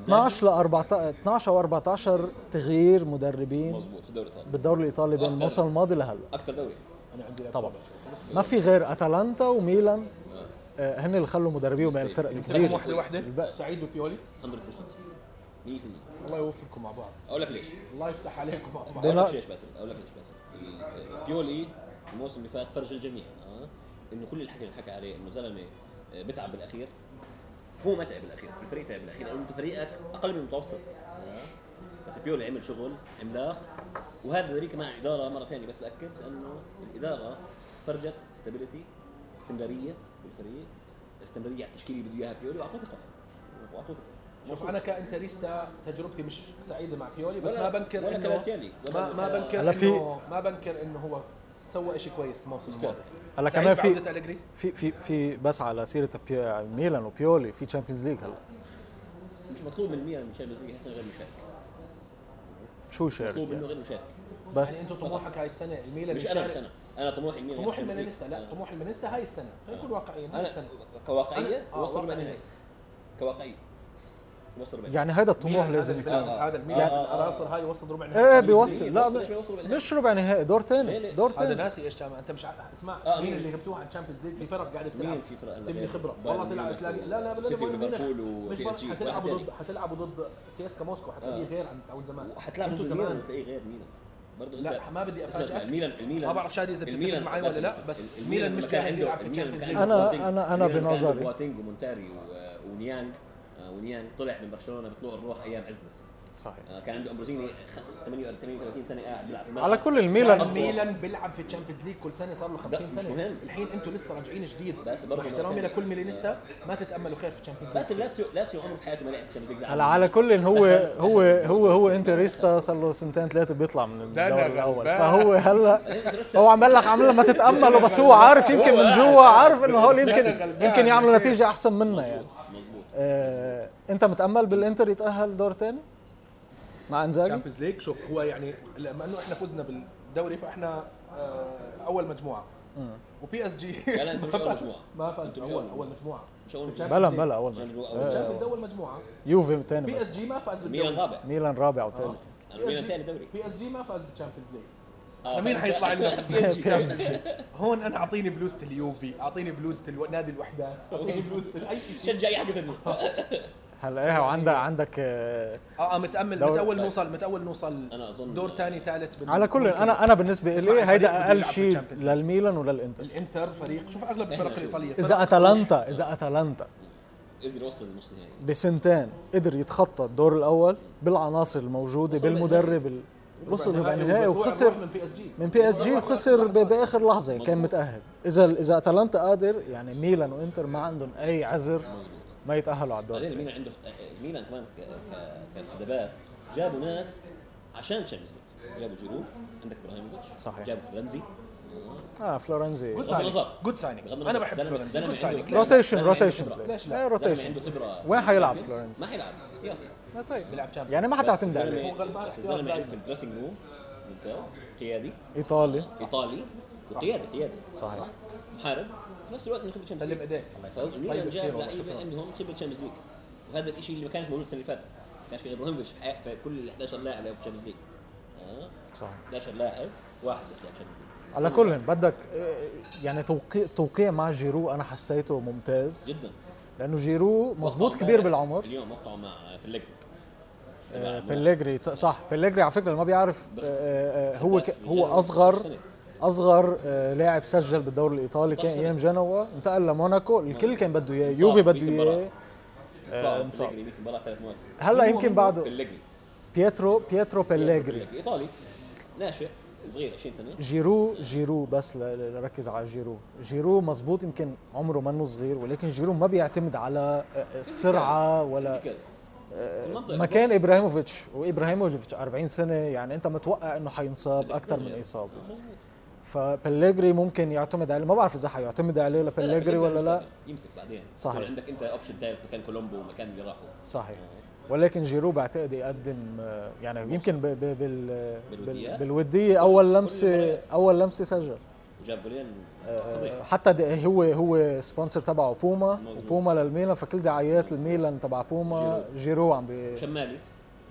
Speaker 3: 12
Speaker 2: 12 ل 14 12 او 14 تغيير مدربين
Speaker 3: مظبوط في الدوري الايطالي
Speaker 2: بالدوري الايطالي بين
Speaker 3: أكتر.
Speaker 2: الموسم الماضي لهلا
Speaker 3: اكثر دوري
Speaker 1: انا عندي
Speaker 2: طبعا.
Speaker 1: لابتوب.
Speaker 2: ما في غير اتلانتا وميلان آه، هن اللي خلوا مدربين بين الفرق
Speaker 1: نمسكهم
Speaker 2: الكبيره
Speaker 1: واحده واحده
Speaker 2: الباقي.
Speaker 1: سعيد وبيولي
Speaker 3: 100% 100%
Speaker 1: الله يوفقكم مع بعض
Speaker 3: اقول لك ليش
Speaker 1: الله يفتح عليكم مع بعض
Speaker 2: دينا-
Speaker 3: اقول لك ليش باسل اقول لك ليش باسل ال- بيولي الموسم اللي فات فرج الجميع اه انه كل الحكي اللي حكى عليه انه زلمه آه، بتعب بالاخير هو ما تعب بالاخير الفريق تعب بالاخير لانه انت فريقك اقل من المتوسط آه. بس بيولي عمل شغل عملاق وهذا دليل كمان على الاداره مره ثانيه بس باكد لانه الاداره فرجت ستابيليتي استمراريه بالفريق استمراريه على التشكيله اللي بده اياها بيولي واعطوه ثقه واعطوه ثقه
Speaker 1: شوف انا كانتريستا تجربتي مش سعيده مع بيولي بس
Speaker 3: ولا-
Speaker 1: ما بنكر
Speaker 3: ولا
Speaker 1: انه
Speaker 3: كلاسيالي، ولا-
Speaker 1: ما ما بنكر
Speaker 2: هلا في-
Speaker 1: انه ما بنكر انه هو سوى شيء كويس الموسم الماضي
Speaker 2: هلا
Speaker 1: سعيد
Speaker 2: كمان في-
Speaker 1: بعودة أليجري.
Speaker 2: في في في بس على سيره بيو- ميلان وبيولي في تشامبيونز ليج هلا
Speaker 3: مش مطلوب من ميلان من الشامبيونز ليج هسه غير مشارك
Speaker 2: شو شارك
Speaker 3: مطلوب منه
Speaker 2: يعني.
Speaker 3: غير مشارك
Speaker 1: يعني
Speaker 2: بس
Speaker 1: انت طموحك هاي السنه الميلان
Speaker 3: مش انا مش
Speaker 1: يشارك-
Speaker 3: انا انا طموحي مين
Speaker 1: طموح الميلانيستا لا طموح الميلانيستا هاي السنه خلينا نكون واقعيين هاي
Speaker 3: انا
Speaker 1: السنه
Speaker 3: كواقعيه
Speaker 1: أنا- آه،
Speaker 3: طيب، وصل
Speaker 1: واقعية.
Speaker 3: بالنهايه كواقعيه وصل بالنهايه
Speaker 2: يعني هذا الطموح
Speaker 1: ميلان
Speaker 2: لازم
Speaker 1: هذا-
Speaker 2: يكون
Speaker 1: لا، هذا الميلان
Speaker 3: يعني-
Speaker 1: العناصر هاي وصل ربع نهائي
Speaker 2: ايه
Speaker 1: بالفريق.
Speaker 2: بيوصل لا
Speaker 3: بيوصل، بيوصل
Speaker 2: م-
Speaker 3: بالآخر.
Speaker 2: مش ربع نهائي دور
Speaker 3: ليه
Speaker 2: ثاني
Speaker 3: ليه؟
Speaker 2: دور
Speaker 1: هذا
Speaker 2: ثاني
Speaker 1: ناس ايش تعمل انت مش عارف اسمع
Speaker 3: طيب. آه،
Speaker 1: مين
Speaker 3: مين؟
Speaker 1: اللي جبتوها على الشامبيونز ليج في فرق قاعده
Speaker 3: مين
Speaker 1: بتلعب
Speaker 3: في فرق اللي
Speaker 1: تبني
Speaker 3: غير
Speaker 1: خبره
Speaker 3: بايرن
Speaker 1: والله تلعب
Speaker 3: ميونخ
Speaker 1: تلاقي
Speaker 3: و-
Speaker 1: لا لا بلا
Speaker 3: سيتي
Speaker 1: بايرن ميونخ.
Speaker 3: وليفربول
Speaker 1: مش
Speaker 3: وبي
Speaker 1: بس
Speaker 3: اس جي
Speaker 1: حتلعبوا
Speaker 3: وواحد
Speaker 1: ضد حتلعبوا ضد سياسكا موسكو حتلاقيه غير عن تعود زمان
Speaker 3: وحتلعب
Speaker 1: انتوا
Speaker 3: آه. ضد
Speaker 1: زمان.
Speaker 3: ميلان وتلاقيه غير ميلان برضه
Speaker 1: لا،
Speaker 3: انت
Speaker 1: ما بدي
Speaker 3: اسمع،
Speaker 1: أفاجئك.
Speaker 3: الميلان الميلان
Speaker 1: ما بعرف شادي إذا بتتفق
Speaker 3: الميلان-
Speaker 1: معي ولا لا،
Speaker 3: لازم-
Speaker 1: بس
Speaker 3: لازم.
Speaker 1: الميلان مش
Speaker 3: كان
Speaker 1: جاهز
Speaker 3: عنده-
Speaker 1: يلعب في
Speaker 3: الميلان
Speaker 1: Champions
Speaker 3: كان
Speaker 1: League.
Speaker 3: عنده
Speaker 2: أنا-
Speaker 3: بواتينج.
Speaker 2: أنا- أنا
Speaker 3: الميلان كان عنده
Speaker 2: بنظري.
Speaker 3: بواتينج ومونتاري و- ونيانج آه، ونيانج طلع من برشلونه بطلوع الروح ايام عز بس
Speaker 2: صحيح
Speaker 3: آه، كان عنده امبروزيني خ- 38 38 سنه قاعد بيلعب في الملعب.
Speaker 2: على كل الميلان
Speaker 3: أصلاً.
Speaker 1: الميلان بيلعب في الشامبيونز ليج كل سنه صار له 50
Speaker 3: مش
Speaker 1: سنه
Speaker 3: مهم.
Speaker 1: الحين انتم لسه راجعين جديد
Speaker 3: بس برضه
Speaker 1: مع احترامي
Speaker 3: مرتين.
Speaker 1: لكل ميلانيستا ما تتاملوا خير في الشامبيونز ليج
Speaker 3: بس اللاتسيو لاتسيو عمره في حياته ما لعب تشامبيونز ليج
Speaker 2: هلا على كل هو
Speaker 1: [LAUGHS]
Speaker 2: هو هو هو انتريستا صار له سنتين ثلاثه بيطلع من الدوري الاول فهو هلا
Speaker 1: [LAUGHS]
Speaker 2: هو عم بلغ عم لما تتامله بس هو عارف يمكن من جوا عارف انه هول يمكن يمكن يعملوا نتيجه احسن منا يعني
Speaker 3: مظبوط
Speaker 2: آه، انت متامل بالانتر يتاهل دور ثاني مع انزاجي
Speaker 1: الشامبيونز ليج شوف هو يعني لما انه احنا فزنا بالدوري فاحنا آه، اول مجموعه وبي اس جي
Speaker 3: لا لا، أنتوا مش أول مجموعة.
Speaker 1: [LAUGHS] ما فاز
Speaker 3: أنتوا مش
Speaker 1: اول
Speaker 3: أول
Speaker 1: اول مجموعه
Speaker 3: مش أول مجموعة.
Speaker 2: بلا بلا اول ماتش
Speaker 1: الشامبيونز اول مجموعه
Speaker 2: يوفي ثاني
Speaker 1: بي اس جي ما فاز
Speaker 3: ميلان
Speaker 1: بالدوري
Speaker 3: رابع
Speaker 2: ميلان رابع وثالث
Speaker 1: آه.
Speaker 3: أنا ميلان ثاني دوري
Speaker 1: بي اس جي ما فاز بالشامبيونز ليج
Speaker 3: آه،
Speaker 1: مين حيطلع لنا؟
Speaker 2: [LAUGHS]
Speaker 3: [LAUGHS] PSG.
Speaker 1: هون انا اعطيني بلوزه اليوفي اعطيني بلوزه الو- نادي الوحدات اعطيني بلوزه اي شيء
Speaker 3: شجع اي حد ثاني
Speaker 2: هلا ايه وعندك
Speaker 1: يعني
Speaker 2: عندك آه،
Speaker 1: اه آه، متامل
Speaker 2: دور-
Speaker 1: متاول نوصل متاول نوصل
Speaker 3: أنا أظن-
Speaker 1: دور ثاني ثالث
Speaker 2: على كل انا انا بالنسبه
Speaker 1: اسمع،
Speaker 2: لي
Speaker 1: الفريق بده
Speaker 2: هيدا اقل
Speaker 1: يلعب
Speaker 2: شيء
Speaker 1: بالشامبيونز ليج.
Speaker 2: للميلان وللانتر
Speaker 1: الانتر فريق شوف اغلب الفرق
Speaker 3: إحنا-
Speaker 1: الايطاليه فرق
Speaker 2: اذا اتلانتا اذا اتلانتا
Speaker 3: قدر يوصل للنص نهائي
Speaker 2: بسنتين قدر يتخطى الدور الاول بالعناصر الموجوده
Speaker 3: وصل
Speaker 2: بالمدرب ال- وصل ربع يعني نهائي
Speaker 1: من
Speaker 2: وخسر
Speaker 1: بي اس جي
Speaker 2: من بي اس جي وخسر ب- باخر لحظه كان
Speaker 3: مظبوط.
Speaker 2: متاهل اذا اذا اتلانتا قادر يعني ميلان وانتر ما عندهم اي عذر
Speaker 3: مظبوط
Speaker 2: ما يتاهلوا على الدور
Speaker 3: بعدين
Speaker 2: التاني.
Speaker 3: ميلان عنده آه، ميلان كمان ك- ك- كانتدابات جابوا ناس عشان تشامبيونز ليج جابوا جيرو عندك ابراهيموفيتش
Speaker 2: صحيح.
Speaker 3: جابوا فرنزي
Speaker 2: اه فلورنزي
Speaker 1: جود
Speaker 3: بغض
Speaker 1: ساينينج
Speaker 3: النظر.
Speaker 1: جود ساينينج
Speaker 3: بغض النظر.
Speaker 1: انا بحب
Speaker 3: زلمة-
Speaker 1: فلورنزي
Speaker 3: زلمة
Speaker 1: جود
Speaker 3: عنده-
Speaker 1: ساينينج
Speaker 3: ليش؟
Speaker 2: روتيشن
Speaker 3: زلمة عنده
Speaker 2: روتيشن
Speaker 3: خبرة.
Speaker 1: ليش
Speaker 2: لا
Speaker 1: لا؟
Speaker 3: زلمة
Speaker 2: روتيشن
Speaker 3: عنده خبره
Speaker 2: وين حيلعب
Speaker 3: Champions؟
Speaker 2: فلورنس؟
Speaker 3: ما حيلعب احتياطي
Speaker 2: لا طيب
Speaker 1: بيلعب Champions.
Speaker 2: يعني ما حتعتمد عليه
Speaker 1: هو غلبان
Speaker 3: الزلمه بس
Speaker 1: احتياط
Speaker 3: الزلمه
Speaker 1: دايماً.
Speaker 3: في الدريسنج روم ممتاز قيادي
Speaker 2: ايطالي
Speaker 3: ايطالي وقيادي قيادي
Speaker 2: صحيح.
Speaker 3: محارب في نفس الوقت عنده خبره Champions
Speaker 1: سلم
Speaker 3: League.
Speaker 1: ايديك
Speaker 2: طيب،
Speaker 3: فالميلان
Speaker 1: كثير
Speaker 3: جاب
Speaker 1: والله،
Speaker 3: لعيبه
Speaker 1: شكراً.
Speaker 3: عندهم خبره تشامبيونز ليج وهذا الشيء اللي ما كانش موجود السنه اللي فاتت ما كانش في ابراهيموفيتش في حياة- في كل ال 11 لاعب لعبوا في تشامبيونز ليج آه،
Speaker 2: صحيح
Speaker 3: 11 لاعب واحد بس لعب تشامبيونز ليج
Speaker 2: على كل بدك آه، يعني توقيع توقيع مع جيرو انا حسيته ممتاز
Speaker 3: جدا
Speaker 2: لانه جيرو مزبوط
Speaker 3: وقعوا
Speaker 2: كبير
Speaker 3: امبارح.
Speaker 2: بالعمر
Speaker 3: اليوم وقعوا مع بلجري
Speaker 2: آه، بيليجري ت- صح بيليجري على فكره اللي ما بيعرف آه، آه، آه، هو ك- هو اصغر اصغر آه، لاعب سجل بالدوري الايطالي كان
Speaker 3: 16 سنة.
Speaker 2: ايام جنوا انتقل لموناكو الكل كان بده اياه يوفي بده
Speaker 3: مية مباراة.
Speaker 2: اياه آه،
Speaker 3: صار
Speaker 2: انصاب.
Speaker 3: بلجري 100 مباراه في ثلاث مواسم
Speaker 2: هلا
Speaker 1: هو-
Speaker 2: يمكن
Speaker 1: هو
Speaker 2: بعده
Speaker 3: بلجري
Speaker 2: بيترو بيترو بيليجري
Speaker 3: ايطالي ناشئ صغير 20 سنه
Speaker 2: جيرو جيرو بس ل- ل- لركز على جيرو جيرو مزبوط يمكن عمره منه صغير ولكن جيرو ما بيعتمد على السرعه ولا
Speaker 3: فيزيكال.
Speaker 2: آه،
Speaker 3: في المنطقة
Speaker 2: مكان ابراهيموفيتش وابراهيموفيتش 40 سنه يعني انت متوقع انه حينصاب اكثر من اصابه
Speaker 3: مظبوط.
Speaker 2: فبليجري ممكن يعتمد عليه ما بعرف اذا حيعتمد عليه
Speaker 3: لا، لا،
Speaker 2: لبليجري ولا لا
Speaker 3: يمسك بعدين
Speaker 2: صحيح.
Speaker 3: يكون عندك انت اوبشن ثالث مكان كولومبو ومكان اللي راحوا
Speaker 2: صحيح ولكن جيرو بعتقد يقدم آه، يعني يمكن ب- ب- بال بال-
Speaker 3: بالوديات؟
Speaker 2: بالوديه اول لمسه
Speaker 3: المباريات.
Speaker 2: اول لمسه سجل
Speaker 3: وجاب جولين
Speaker 2: آه،
Speaker 3: فظيع
Speaker 2: حتى د- هو هو سبونسر تبعه بوما
Speaker 3: طيب. مظبوط.
Speaker 2: وبوما للميلان فكل دعايات الميلان تبع بوما جيرو عم بي
Speaker 3: شمالي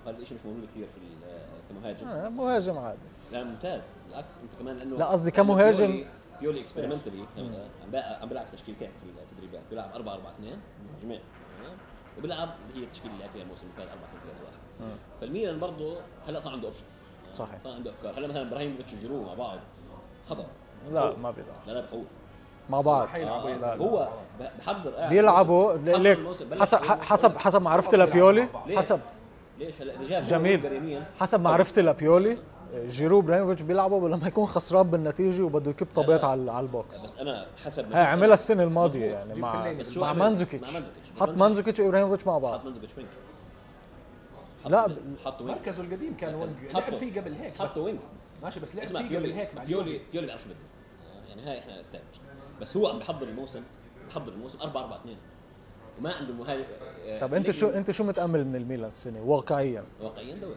Speaker 3: هذا الشيء مش موجود كثير في ال- كمهاجم
Speaker 2: آه، مهاجم عادي
Speaker 3: لا ممتاز بالعكس انت كمان لانه
Speaker 2: لا، قصدي
Speaker 3: لأنه
Speaker 2: كمهاجم-
Speaker 3: بيولي- بيولي اكسبيرمنتالي عم بلع- عم بيلعب تشكيلتين في التدريبات بيلعب 4 4 2 جميع وبيلعب اللي هي التشكيله اللي لعب فيها الموسم اللي فات 4 2 3 1 فالميلان برضه هلا صار عنده اوبشنز
Speaker 2: صحيح.
Speaker 3: صار عنده افكار هلا مثلا ابراهيموفيتش وجيرو مع بعض خطر
Speaker 2: لا
Speaker 3: خوف.
Speaker 2: ما بيلعب
Speaker 3: لا لا بخوف
Speaker 2: مع بعض
Speaker 1: حيلعبوا يا
Speaker 3: آه،
Speaker 1: زلمة.
Speaker 3: هو ب- بحضر قاعد
Speaker 2: بيلعبوا
Speaker 3: الموسم- حضر
Speaker 2: ليك
Speaker 3: الموسم، بلش
Speaker 2: حسب
Speaker 3: يلعب.
Speaker 2: حسب حسب معرفتي
Speaker 1: بيلعبوا
Speaker 2: لبيولي
Speaker 1: مع بعض.
Speaker 3: ليه؟
Speaker 2: حسب
Speaker 3: ليش هلا اذا جاب
Speaker 2: جميل.
Speaker 3: جول يمين
Speaker 2: حسب معرفتي لبيولي آه، جيرو ابراهيموفيتش بيلعبوا لما يكون خسران بالنتيجه وبده يكب طابات على على البوكس
Speaker 3: بس انا حسب ما
Speaker 2: هي
Speaker 3: شفت
Speaker 2: عملها السنه الماضيه
Speaker 3: مظبوط.
Speaker 2: يعني
Speaker 1: جيب
Speaker 2: مع
Speaker 1: فليني.
Speaker 3: بس شو
Speaker 2: مع
Speaker 3: عمل؟
Speaker 2: مانزوكيتش
Speaker 3: مع مانزوكيتش.
Speaker 2: حط مانزوكيتش وابراهيموفيتش مع بعض
Speaker 3: حط منزل فرنك
Speaker 2: لا،
Speaker 3: حط وينج
Speaker 1: مركزه القديم كان وينج
Speaker 3: حطه.
Speaker 1: لعب فيه قبل هيك بس
Speaker 3: حطه وينج
Speaker 1: ماشي بس لعب
Speaker 3: اسمع
Speaker 1: فيه قبل
Speaker 3: بيولي
Speaker 1: هيك مع
Speaker 3: بيولي
Speaker 1: اليوفي
Speaker 3: بيولي بيعرفش شو بده يعني هاي احنا استابش بس هو عم بحضر الموسم بحضر الموسم 4 4 2 وما عنده مهاجم آه،
Speaker 2: طب انت
Speaker 3: ليجري
Speaker 2: شو انت شو متامل من الميلان السنه واقعيا
Speaker 3: واقعيا دوري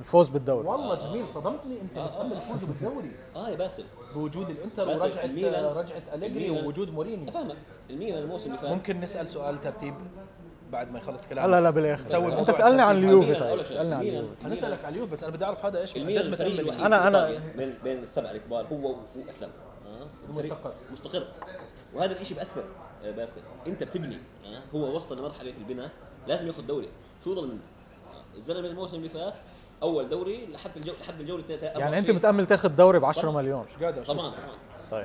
Speaker 2: الفوز بالدوري
Speaker 1: والله جميل صدمتني انت بتامل فوزه بالدوري
Speaker 3: اه يا باسل
Speaker 1: بوجود الانتر
Speaker 3: آه. بس
Speaker 1: ورجعه
Speaker 3: الميلان-
Speaker 1: رجعه اليجري
Speaker 3: الميلان-
Speaker 1: ووجود مورينيو
Speaker 3: افهمك الميلان الموسم اللي فات
Speaker 1: ممكن نسال سؤال ترتيب بعد ما يخلص كلامك
Speaker 2: هلا لا بالاخر
Speaker 1: نسوي
Speaker 2: انت
Speaker 1: موضوع
Speaker 2: اسالني عن
Speaker 1: ترتيب.
Speaker 2: اليوفي
Speaker 3: الميلان، أقول
Speaker 2: طيب
Speaker 3: لك شغلة،
Speaker 2: اسالني عن
Speaker 3: الميلان-
Speaker 2: اليوفي
Speaker 1: هنسالك على اليوف بس انا بدي اعرف هذا ايش
Speaker 3: الميلان
Speaker 1: جد
Speaker 3: الفريق
Speaker 1: متامل
Speaker 3: الوحيد
Speaker 1: فيه.
Speaker 2: أنا-
Speaker 3: في
Speaker 2: أنا-
Speaker 3: إيطاليا بين بين السبع الكبار هو واتلانتا آه، الفريق
Speaker 1: مستقر.
Speaker 3: مستقر وهذا الشيء بأثر آه، باسل انت بتبني آه، هو وصل لمرحله في البناء لازم ياخذ دوري شو ضل منه آه، الزلمه الموسم اللي فات اول دوري لحد الجو لحد الجوله الثالثه
Speaker 2: يعني انت متامل تاخذ دوري ب 10 مليون
Speaker 1: مش قادر أشوف.
Speaker 3: طبعا
Speaker 2: طيب.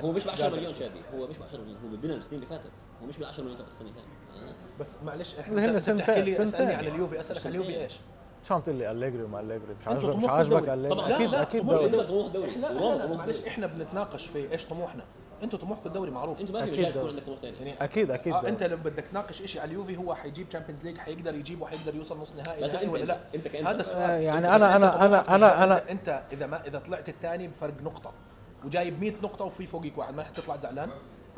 Speaker 3: طبعا هو مش ب 10
Speaker 1: قادر
Speaker 3: مليون شادي هو مش ب 10 مليون هو بالبناء السنين اللي فاتت هو مش بال 10 مليون تبع السنه هاي آه.
Speaker 1: بس معلش
Speaker 2: اللي
Speaker 1: احنا
Speaker 2: هن
Speaker 1: أنت بتحكي
Speaker 2: سنتين-
Speaker 1: لي اسالني
Speaker 2: سنتين.
Speaker 1: عن اليوفي اسالك عن اليوفي ايش؟
Speaker 2: شو عم تقول لي اليجري وما اليجري
Speaker 1: أنتوا
Speaker 2: مش عاجبك مش
Speaker 1: طموحكم
Speaker 2: عاجبك
Speaker 1: دوري.
Speaker 2: اليجري
Speaker 1: طبعاً.
Speaker 2: اكيد
Speaker 1: لا، لا،
Speaker 2: اكيد
Speaker 1: طموحكم
Speaker 2: دوري
Speaker 3: انت طموح دوري
Speaker 1: احنا
Speaker 3: وروما
Speaker 1: لا، لا،
Speaker 3: طموح
Speaker 1: معلش
Speaker 3: دوري
Speaker 1: احنا بنتناقش في ايش طموحنا انتوا طموحكم الدوري معروف
Speaker 3: انت ما في
Speaker 2: أكيد
Speaker 3: مجال يكون
Speaker 2: دوري.
Speaker 3: عندك طموح ثاني
Speaker 1: يعني
Speaker 2: أكيد- أكيد
Speaker 1: آه
Speaker 2: دوري.
Speaker 1: انت لما بدك تناقش شيء على اليوفي هو حيجيب تشامبيونز ليج حيقدر يجيب وحيقدر يوصل نص نهائي
Speaker 3: بس
Speaker 1: نهائي
Speaker 3: أنت-
Speaker 1: ولا لا
Speaker 3: أنت كأنت-
Speaker 1: هذا
Speaker 2: آه،
Speaker 1: السؤال
Speaker 2: يعني
Speaker 1: أنت- بس
Speaker 2: أنا-
Speaker 1: أنت
Speaker 2: أنا-
Speaker 1: طموحك
Speaker 2: أنا-
Speaker 1: مش
Speaker 2: أنا-
Speaker 1: لا،
Speaker 2: أنا-
Speaker 1: أنت- انت اذا ما اذا طلعت الثاني بفرق نقطه وجايب 100 نقطه وفي فوقك واحد ما حتطلع زعلان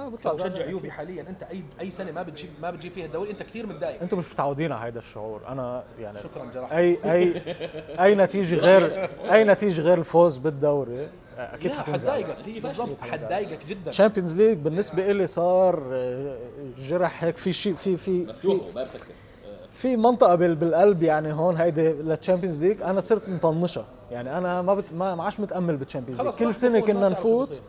Speaker 2: آه، بطلع
Speaker 1: مشجع
Speaker 2: زعلان.
Speaker 1: يوفي حاليا انت اي اي سنه ما بتجيب ما بتجيب فيها الدوري انت كثير متضايق
Speaker 2: انتم مش متعودين على هذا الشعور انا يعني
Speaker 1: شكراً جراح.
Speaker 2: اي اي اي نتيجه غير اي نتيجه غير الفوز بالدوري آه، اكيد
Speaker 1: لا
Speaker 2: حكون زعلان
Speaker 1: حتضايقك بالضبط حتضايقك جدا
Speaker 2: تشامبيونز ليج بالنسبه لي صار آه، جرح هيك في شيء في في في,
Speaker 3: مفتوح وبارس اكثر
Speaker 2: في منطقه بال- بالقلب يعني هون هيدي للتشامبيونز ليج انا صرت مطنشه يعني انا ما بت ما ما عادش متامل بالتشامبيونز ليج
Speaker 1: خلص،
Speaker 2: كل
Speaker 1: رح
Speaker 2: سنه
Speaker 1: نفوت، ما
Speaker 2: كنا
Speaker 1: بتعرف شو
Speaker 2: نفوت
Speaker 1: بصير.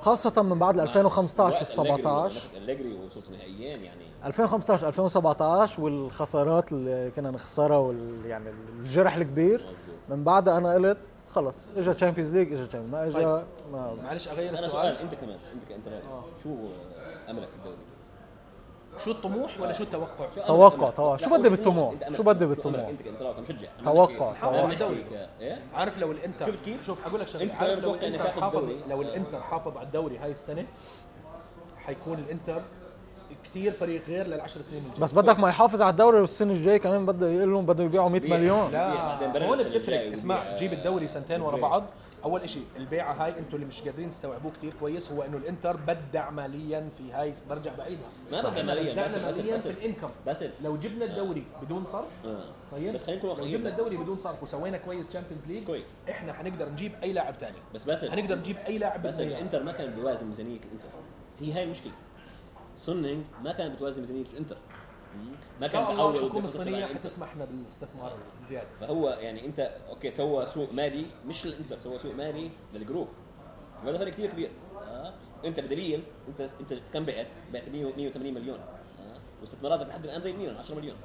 Speaker 2: خاصه من بعد 2015 وال 17
Speaker 3: الجري وصلت نهائيين يعني
Speaker 2: 2015 2017 والخسارات اللي كنا نخسرها وال يعني الجرح الكبير من بعدها انا قلت خلص اجى تشامبيونز ليج اجى Champions- ما اجى
Speaker 1: طيب.
Speaker 2: ما
Speaker 1: معلش اغير
Speaker 3: بس انا
Speaker 1: السؤال
Speaker 3: سؤال آه. انت كمان انت انت رأيك. شو املك في الدوري؟
Speaker 1: شو الطموح ولا شو التوقع؟
Speaker 3: شو أملك-
Speaker 2: توقع،
Speaker 3: أملك؟
Speaker 2: توقع.
Speaker 3: لا،
Speaker 2: شو
Speaker 3: هو
Speaker 2: بدي
Speaker 3: الطموح.
Speaker 2: بالطموح؟
Speaker 3: أنت أملك.
Speaker 2: شو بدي
Speaker 3: أملك
Speaker 2: بالطموح؟
Speaker 3: انت انت رايك مشجع أملك
Speaker 2: توقع،
Speaker 3: إيه؟
Speaker 1: توقع.
Speaker 3: أنا بحكي
Speaker 1: دوري.
Speaker 3: ك- ايه
Speaker 1: عارف لو الانتر
Speaker 3: شفت كيف؟
Speaker 1: شوف حقول لك شغله
Speaker 3: أنت كمان
Speaker 1: عارف لو
Speaker 3: متوقع إنك
Speaker 1: الانتر
Speaker 3: تاخذ
Speaker 1: حافظ
Speaker 3: الدوري.
Speaker 1: لو الانتر حافظ على الدوري هاي السنه حيكون الانتر كثير فريق غير للعشر سنين الجايه
Speaker 2: بس بدك ما يحافظ على الدوري والسنه الجايه كمان بده يقول لهم بده يبيعوا 100 مليون
Speaker 3: لا، إيه، بعدين
Speaker 1: لا
Speaker 3: بلد
Speaker 1: هون
Speaker 3: السنة الجاية
Speaker 1: بتفرق
Speaker 3: وبيع-
Speaker 1: اسمع تجيب الدوري سنتين ورا
Speaker 3: بيع.
Speaker 1: بعض اول شيء البيعه هاي انتم اللي مش قادرين تستوعبوه كثير كويس هو انه الانتر بدع ماليا في هاي برجع بعيدها
Speaker 3: ما بدع مالياً،
Speaker 1: بدعنا
Speaker 3: بس- بس-
Speaker 1: ماليا
Speaker 3: بس-
Speaker 1: في الانكم
Speaker 3: باسل
Speaker 1: لو جبنا الدوري بدون صرف
Speaker 3: آه.
Speaker 1: طيب
Speaker 3: بس خلينا نكون
Speaker 1: لو
Speaker 3: واقعيين
Speaker 1: جبنا
Speaker 3: بس.
Speaker 1: الدوري بدون صرف وسوينا كويس تشامبيونز ليج
Speaker 3: كويس
Speaker 1: احنا حنقدر نجيب اي لاعب ثاني
Speaker 3: بس باسل
Speaker 1: هنقدر نجيب اي لاعب
Speaker 3: بس
Speaker 2: إيه؟
Speaker 1: بالدنيا.
Speaker 3: الانتر ما كان بيوازن ميزانيه الانتر هي هاي المشكله سونينج ما كان بتوازن ميزانيه الانتر ما
Speaker 1: ان شاء
Speaker 3: كان
Speaker 1: الله
Speaker 3: بيحاول
Speaker 1: الحكومه
Speaker 3: يدخل
Speaker 1: الصينيه
Speaker 3: على الإنتر.
Speaker 1: حتسمح لنا بالاستثمار زياده
Speaker 3: فهو يعني انت اوكي سوى سوق مالي مش للانتر سوى سوق مالي للجروب وهذا فرق كثير كبير آه. انت بدليل انت انت كم بعت؟ بعت 100 180 مليون آه. واستثماراتك لحد الان زي مليون 10 مليون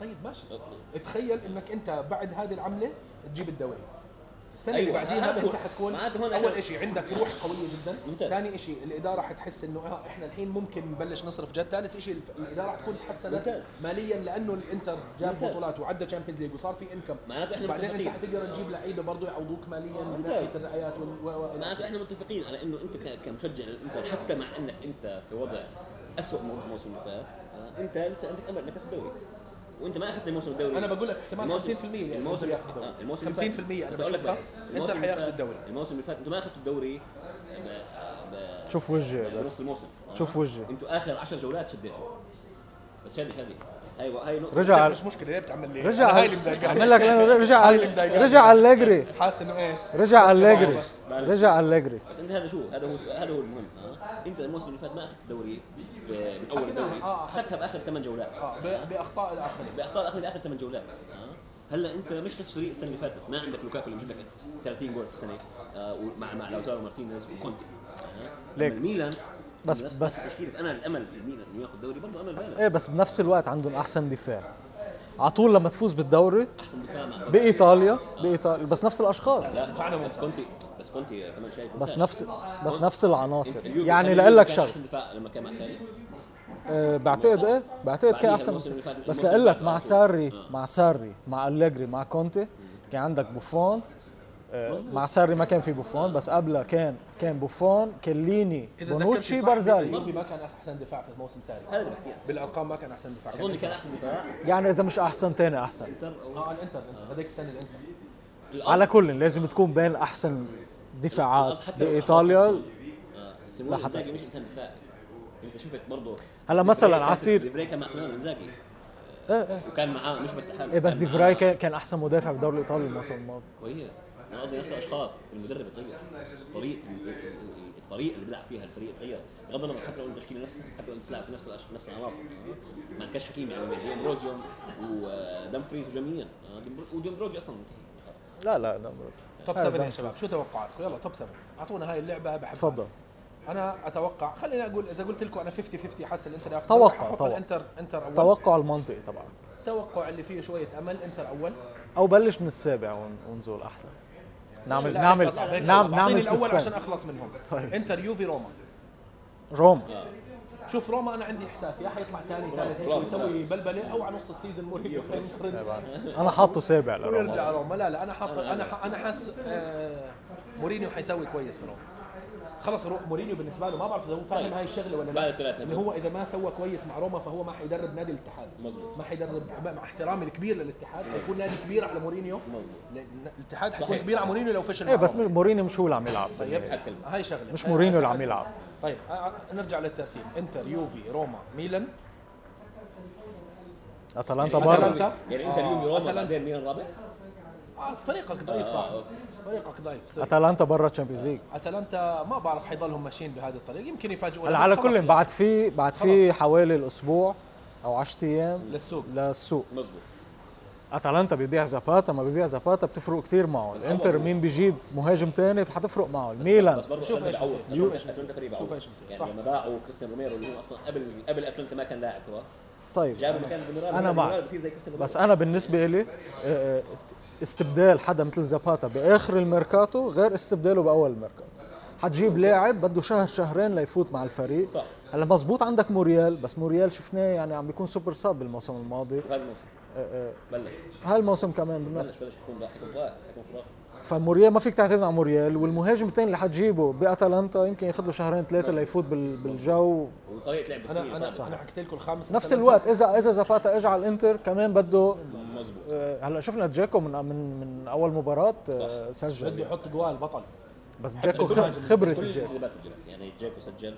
Speaker 1: طيب ماشي تخيل انك انت بعد هذه العمله تجيب الدوري السنه
Speaker 3: أيوة،
Speaker 1: اللي بعديها
Speaker 3: هذا هو.
Speaker 1: انت حتكون
Speaker 3: معناته هون إحنا-
Speaker 1: اول شيء عندك روح قويه جدا
Speaker 3: ممتاز.
Speaker 1: ثاني شيء الاداره حتحس انه آه، احنا الحين ممكن نبلش نصرف جد ثالث شيء الف- الاداره حتكون
Speaker 3: ممتاز.
Speaker 1: تحسنت ماليا لانه الانتر جاب
Speaker 3: ممتاز.
Speaker 1: بطولات وعدى تشامبيونز ليج وصار في انكم
Speaker 3: معناته إحنا
Speaker 1: بعدين انت
Speaker 3: متفقين.
Speaker 1: حتقدر تجيب لعيبه برضه يعوضوك ماليا من
Speaker 3: ممتاز.
Speaker 1: ناحيه الرعايات وال- و- و-
Speaker 3: معناته احنا متفقين على انه انت ك- كمشجع للانتر حتى مع انك انت في وضع اسوء من الموسم اللي فات آه، انت لسه عندك امل انك تاخذ الدوري وانت ما اخذت الموسم الدوري
Speaker 1: انا بقول لك احتمال 50%
Speaker 3: الموسم-
Speaker 1: يعني
Speaker 3: الموسم
Speaker 1: ياخذ الدوري.
Speaker 3: آه، الموسم
Speaker 1: 50%
Speaker 3: بس
Speaker 1: انا
Speaker 3: اقول لك
Speaker 1: بشوفها.
Speaker 3: بس
Speaker 1: انت
Speaker 3: الموسم
Speaker 1: اللي حياخذ
Speaker 3: فات-
Speaker 1: الدوري
Speaker 3: الموسم اللي فات انتوا ما اخذتوا الدوري ب- ب-
Speaker 2: شوف وجهي
Speaker 3: بنص
Speaker 2: بس
Speaker 3: الموسم آه.
Speaker 2: شوف وجهي.
Speaker 3: انتوا اخر 10 جولات شديتوا بس شادي شادي هاي هاي نقطة
Speaker 2: رجع
Speaker 1: مش مشكله ليه بتعمل لي
Speaker 2: رجع
Speaker 1: أنا هاي اللي مضايقاني.
Speaker 2: عمل لك لأنه
Speaker 1: [LAUGHS]
Speaker 2: رجع
Speaker 1: هاي اللي مضايقاني.
Speaker 2: رجع أليجري
Speaker 1: حاسس انه ايش
Speaker 2: رجع أليجري
Speaker 1: بس-
Speaker 2: رجع أليجري
Speaker 3: بس انت هذا شو هذا هو السؤال- هذا هو المهم آه. انت الموسم اللي فات ما اخذت الدوري ب- من اول
Speaker 1: حكينا-
Speaker 3: الدوري
Speaker 1: آه،
Speaker 3: اخذتها باخر ثمان جولات
Speaker 1: آه، ب- باخطاء الاخرين
Speaker 3: باخطاء اخر باخر ثمان جولات آه. هلا انت مش نفس فريق السنه اللي فاتت ما عندك لوكاكو اللي بجيب لك 30 جول في السنه آه ومع مع لوتارو مارتينيز وكونتي آه.
Speaker 2: ليك.
Speaker 3: أما الميلان
Speaker 2: بس-
Speaker 3: نفس-
Speaker 2: بس-
Speaker 3: نفس التشكيل. انا الامل في الميلان انه ياخذ دوري برضه امل بالغ
Speaker 2: ايه بس بنفس الوقت عندهم احسن دفاع على طول لما تفوز بالدوري
Speaker 3: احسن دفاع مع
Speaker 2: بايطاليا بايطاليا بس نفس الاشخاص
Speaker 3: لا بس كونتي بس كونتي كمان شايف
Speaker 2: بس نفس بس نفس العناصر
Speaker 3: اليوفي
Speaker 2: يعني
Speaker 3: كان-
Speaker 2: لاقول لك
Speaker 3: كان
Speaker 2: شغله
Speaker 3: احسن دفاع لما كان مع ساري
Speaker 2: أه بعتقد ايه بعتقد كان
Speaker 3: بعديها
Speaker 2: احسن
Speaker 3: الموسم اللي فات-
Speaker 2: بس
Speaker 3: الموسم
Speaker 2: لاقول
Speaker 3: اللي
Speaker 2: لك
Speaker 3: فات
Speaker 2: مع
Speaker 3: على طول.
Speaker 2: ساري
Speaker 3: آه.
Speaker 2: مع ساري مع أليجري مع كونتي كان عندك بوفون أه، مع ساري ما كان في بوفون بس قبلها كان كان بوفون كيليني بونوتشي
Speaker 1: صح،
Speaker 2: بارزالي
Speaker 1: اليوفي ما كان احسن دفاع في موسم ساري
Speaker 3: هذا اللي بحكيه
Speaker 1: بالارقام ما كان احسن دفاع
Speaker 3: اظن كان احسن دفاع
Speaker 2: يعني اذا مش احسن تاني احسن
Speaker 3: انتر او
Speaker 1: اه الانتر الإنتر. هذيك السنه الانتر
Speaker 3: الأرض-
Speaker 2: على كل لازم تكون بين احسن
Speaker 3: الأرض
Speaker 2: دفاعات
Speaker 3: حتى لو
Speaker 2: بايطاليا
Speaker 3: آه، سيموني
Speaker 2: لا حتى
Speaker 3: إنزاغي مش انسان دفاع انت شفت برضه
Speaker 2: هلا مثلاً عصير.
Speaker 3: ديفراي كان مع فرناندو انزاجي
Speaker 2: ايه ايه
Speaker 3: وكان معاه مش بس لحاله
Speaker 2: ايه بس
Speaker 3: كان معاه
Speaker 2: ديفراي كان كان احسن مدافع بالدوري الايطالي الموسم الماضي
Speaker 3: كويس بس انا قصدي نفس الاشخاص المدرب اتغير الطريق الطريقه اللي بيلعب فيها الفريق اتغير بغض النظر حتى لو التشكيله نفسها حتى لو انت بتلعب في نفس الأش- نفس العناصر آه. ما عندكش حكيم يعني اليوم روزيوم ودمفريز وجميع ودمبروجي اصلا منتهي
Speaker 2: لا لا لا
Speaker 1: توب 7 يا شباب شو توقعاتكم يلا توب 7 اعطونا هاي اللعبه بحبها
Speaker 2: تفضل
Speaker 1: انا اتوقع خليني اقول اذا قلت لكم انا 50 50 حاسس الانتر ياخذ
Speaker 2: توقع، توقع.
Speaker 1: الانتر انتر اول
Speaker 2: توقع المنطقي طبعا
Speaker 1: التوقع اللي فيه شويه امل انتر اول
Speaker 2: او بلش من السابع ون- ونزول احلى نعمل
Speaker 1: لا،
Speaker 2: نعمل
Speaker 1: هيك أصعب، هيك
Speaker 2: نعمل
Speaker 1: أصعب. أعطيني
Speaker 2: نعمل
Speaker 1: الاول عشان
Speaker 2: سسبنس
Speaker 1: اخلص منهم
Speaker 2: طيب.
Speaker 1: انتر يوفي روما
Speaker 2: روما
Speaker 1: شوف روما انا عندي احساس يا حيطلع ثاني ثالث هيك
Speaker 3: برافو،
Speaker 1: ويسوي بلبله او على نص السيزون مورينيو
Speaker 3: طيب،
Speaker 2: انا حاطه سابع
Speaker 1: ويرجع
Speaker 2: لروما
Speaker 1: روما لا لا انا حاط انا ح- انا حاسس آه، مورينيو حيسوي كويس في روما خلص رو- مورينيو بالنسبه له ما بعرف اذا هو فاهم
Speaker 3: طيب.
Speaker 1: هاي الشغله ولا
Speaker 3: بعد
Speaker 1: لا
Speaker 3: الثلاثة.
Speaker 1: انه هو اذا ما سوى كويس مع روما فهو ما حيدرب نادي الاتحاد
Speaker 3: مظبوط.
Speaker 1: ما حيدرب مع- مع احترامي الكبير للاتحاد حيكون نادي كبير على مورينيو
Speaker 3: مظبوط.
Speaker 1: لأن الاتحاد حيكون
Speaker 3: صحيح.
Speaker 1: كبير على مورينيو لو فشل
Speaker 2: ايه
Speaker 1: مع
Speaker 2: بس
Speaker 1: روما.
Speaker 2: موريني مش هو اللي عم يلعب
Speaker 1: طيب
Speaker 3: أتكلم.
Speaker 1: هاي شغله
Speaker 2: مش
Speaker 1: هاي-
Speaker 2: مورينيو اللي
Speaker 1: هاي-
Speaker 2: عم يلعب
Speaker 1: طيب آه، آه، نرجع للترتيب انتر يوفي روما ميلان
Speaker 2: اتلانتا
Speaker 1: يعني
Speaker 2: برا
Speaker 1: أتلانتا-
Speaker 3: يعني انت
Speaker 1: آه،
Speaker 3: اليوم روما
Speaker 1: أتلانتا.
Speaker 3: بعدين مين الرابع؟
Speaker 1: آه فريقك ضعيف
Speaker 3: آه،
Speaker 1: صح
Speaker 3: أوكي.
Speaker 1: فريقك ضعيف سوري.
Speaker 2: اتلانتا برا تشامبيونز ليج
Speaker 1: اتلانتا ما بعرف حيضلهم ماشيين بهذه الطريقه يمكن يفاجئونا
Speaker 2: هلا
Speaker 1: بس
Speaker 2: على
Speaker 1: خلص
Speaker 2: كل
Speaker 1: يعني.
Speaker 2: بعد في بعد في
Speaker 1: خلص.
Speaker 2: حوالي الاسبوع او 10 ايام
Speaker 1: للسوق
Speaker 2: للسوق
Speaker 3: مظبوط
Speaker 2: اتلانتا ببيع زاباتا ما ببيع زاباتا بتفرق كثير معه
Speaker 3: بس
Speaker 2: الانتر
Speaker 3: أول-
Speaker 2: مين بيجيب مهاجم تاني حتفرق معه الميلان
Speaker 3: بس برضه
Speaker 1: شوف
Speaker 3: شوف ايش
Speaker 1: إيش
Speaker 3: بعوض
Speaker 1: بصير.
Speaker 3: شوف ايش اتلانتا فريق بعوض
Speaker 1: شوف إيش بصير. صح.
Speaker 3: يعني لما باعوا كريستيان روميرو اللي هو اصلا قبل قبل اتلانتا ما كان لاعب كره
Speaker 2: طيب
Speaker 3: جابوا مكان ديميرال
Speaker 2: أنا
Speaker 3: ديميرال
Speaker 2: معك.
Speaker 3: بصير زي كريستيان
Speaker 2: بس انا بالنسبه لي آه، استبدال حدا مثل زاباتا باخر الميركاتو غير استبداله باول الميركاتو حتجيب لاعب بده شهر شهرين ليفوت مع الفريق
Speaker 3: صح.
Speaker 2: هلا مزبوط عندك موريال بس موريال شفناه يعني عم بيكون سوبر ساب الموسم الماضي
Speaker 3: هذا الموسم
Speaker 1: أه،
Speaker 3: بلش
Speaker 2: هالموسم كمان
Speaker 3: بلش
Speaker 2: بنفس
Speaker 3: بلش حيكون بقى- حيكون رائع حيكون خرافي
Speaker 2: فموريال ما فيك تعتمد على موريال والمهاجم الثاني اللي حتجيبه باتلانتا يمكن ياخذ له شهرين ثلاثه ليفوت بال- بالجو
Speaker 3: وطريقه لعب
Speaker 1: انا
Speaker 3: كتير
Speaker 1: انا
Speaker 3: صعبة.
Speaker 1: انا حكيت لكم الخامس
Speaker 2: نفس
Speaker 1: أتلانتا.
Speaker 2: الوقت اذا اذا زاباتا اجى على الانتر كمان بده
Speaker 3: مظبوط
Speaker 2: آه، هلا شفنا جاكو من من من اول مباراه آه،
Speaker 1: بده
Speaker 2: سجل
Speaker 1: يحط جوال بطل
Speaker 2: بس جاكو
Speaker 1: بس
Speaker 2: خ-
Speaker 1: كل-
Speaker 2: خبره
Speaker 3: كل
Speaker 2: جاكو
Speaker 3: الانتدابات سجلت يعني جاكو سجل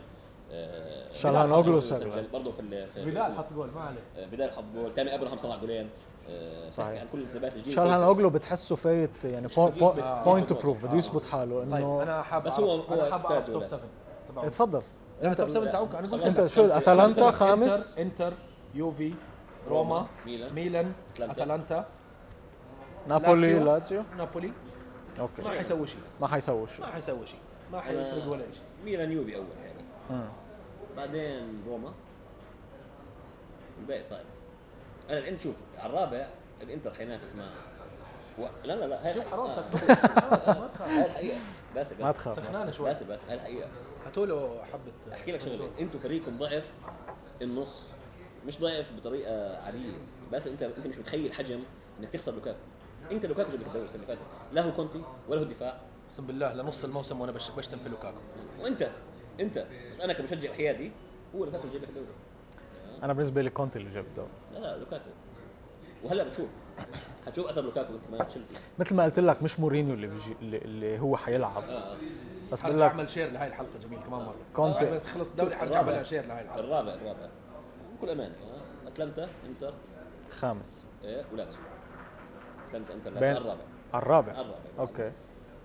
Speaker 3: آه،
Speaker 2: شالهانوغلو
Speaker 3: فيدال
Speaker 2: سجل.
Speaker 3: برضه في ال- في
Speaker 1: فيدال حط جول ما عليه
Speaker 3: آه، فيدال حط جول تامي ابراهام صنع جولين آه،
Speaker 2: صحيح.
Speaker 3: بتحكي عن كل الانتدابات الجديده
Speaker 2: شالهان
Speaker 3: كويسة.
Speaker 2: اوغلو بتحسه فايت يعني
Speaker 3: بده يثبت- آه.
Speaker 2: بوينت
Speaker 3: آه.
Speaker 2: بروف بده يثبت حاله
Speaker 1: طيب
Speaker 2: انه
Speaker 1: انا حاب
Speaker 3: بس
Speaker 1: أعرف-
Speaker 3: هو-
Speaker 1: انا
Speaker 3: هو
Speaker 1: حاب
Speaker 3: التالت
Speaker 1: اعرف توب
Speaker 3: ولا
Speaker 1: 7 تبعه
Speaker 2: اتفضل انت
Speaker 1: توب 7 تعوك انا قلت
Speaker 3: خلاص.
Speaker 2: انت إيه، شو اتلانتا خامس
Speaker 1: انتر انتر يوفي روما
Speaker 3: ميلان.
Speaker 1: ميلان
Speaker 3: أتلانتا.
Speaker 1: اتلانتا
Speaker 2: نابولي
Speaker 1: لاتسيو.
Speaker 2: لاتسيو
Speaker 1: نابولي ما
Speaker 2: اوكي
Speaker 1: حيسوي شيء
Speaker 2: ما حيسووا شيء
Speaker 1: ما حيسوي شيء ما
Speaker 3: أنا-
Speaker 1: حيفرق ولا شيء
Speaker 3: ميلان يوفي اول يعني
Speaker 2: مم.
Speaker 3: بعدين روما الباقي صعب انا الانت شوف على الرابع الانتر حينافس مع و... لا لا لا هاي
Speaker 1: شوف
Speaker 3: الحقيقة. [LAUGHS]
Speaker 1: حرامتك ما
Speaker 3: هاي
Speaker 1: تخاف
Speaker 3: الحقيقه بس بس
Speaker 2: ما تخاف
Speaker 1: سخنانه شوي
Speaker 3: بس بس هاي الحقيقه
Speaker 1: هاتوا له حبه
Speaker 3: احكي لك شغله انتوا فريقكم ضعف النص مش ضعف بطريقه عاديه بس انت انت مش متخيل حجم انك تخسر لوكاكو انت لوكاكو جاب لك الدوري السنه اللي فاتت لا هو كونتي ولا هو الدفاع
Speaker 1: اقسم بالله لنص الموسم وانا بش- بشتم في لوكاكو
Speaker 3: وانت انت بس انا كمشجع حيادي هو لوكاكو اللي جاب لك الدوري
Speaker 2: انا بالنسبه لي كونتي اللي جاب الدوري
Speaker 3: لا لا لوكاكو وهلا بتشوف حتشوف اثر لوكاكو انت مع تشيلسي
Speaker 2: مثل ما قلت لك مش مورينيو اللي بيجي اللي- اللي هو حيلعب
Speaker 3: آه.
Speaker 2: بس بقول
Speaker 1: حرجع
Speaker 2: لك
Speaker 1: اعمل شير لهي الحلقه جميل كمان مره
Speaker 2: كونتي.
Speaker 1: بس خلص دوري حرجع اعملها شير لهي الحلقه
Speaker 3: الرابع الرابع بكل امانه آه. اتلانتا انتر
Speaker 2: خامس
Speaker 3: آه. ولاتسيو اتلانتا انتر
Speaker 2: بين-
Speaker 3: لاتسيو الرابع
Speaker 2: الرابع
Speaker 3: الرابع.
Speaker 2: اوكي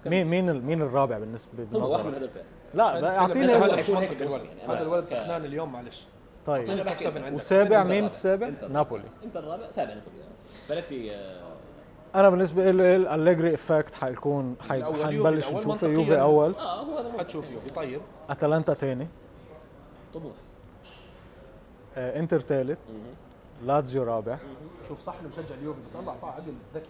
Speaker 2: مين مين ال- مين الرابع بالنسبه
Speaker 3: هو واحد من
Speaker 2: بنظرك؟
Speaker 3: هذول الثلاثه
Speaker 2: لا لا، اعطينا
Speaker 1: هذا
Speaker 2: اسم
Speaker 1: مش منطق
Speaker 3: هيك
Speaker 1: الولد
Speaker 3: يعني.
Speaker 1: هذا الولد
Speaker 3: ف-
Speaker 1: سخنان اليوم معلش
Speaker 2: طيب
Speaker 1: بحكي سبعة عندك.
Speaker 2: وسابع مين
Speaker 3: الرابع.
Speaker 2: السابع؟
Speaker 3: إنتر.
Speaker 2: نابولي
Speaker 3: انت الرابع سابع نقول يعني فلتي آه،
Speaker 2: انا بالنسبه لي الاليجري افكت حيكون حي...
Speaker 1: الأول يوفي
Speaker 2: حنبلش
Speaker 1: الأول
Speaker 2: نشوفه
Speaker 1: منطقياً.
Speaker 2: يوفي اول
Speaker 3: اه هو هذا الموضوع.
Speaker 1: حتشوف يوفي طيب
Speaker 2: اتلانتا ثاني
Speaker 3: طموح
Speaker 2: آه، انتر ثالث لاتزيو رابع
Speaker 1: شوف صح انه مشجع اليوفي بس الله اعطاه عقل ذكي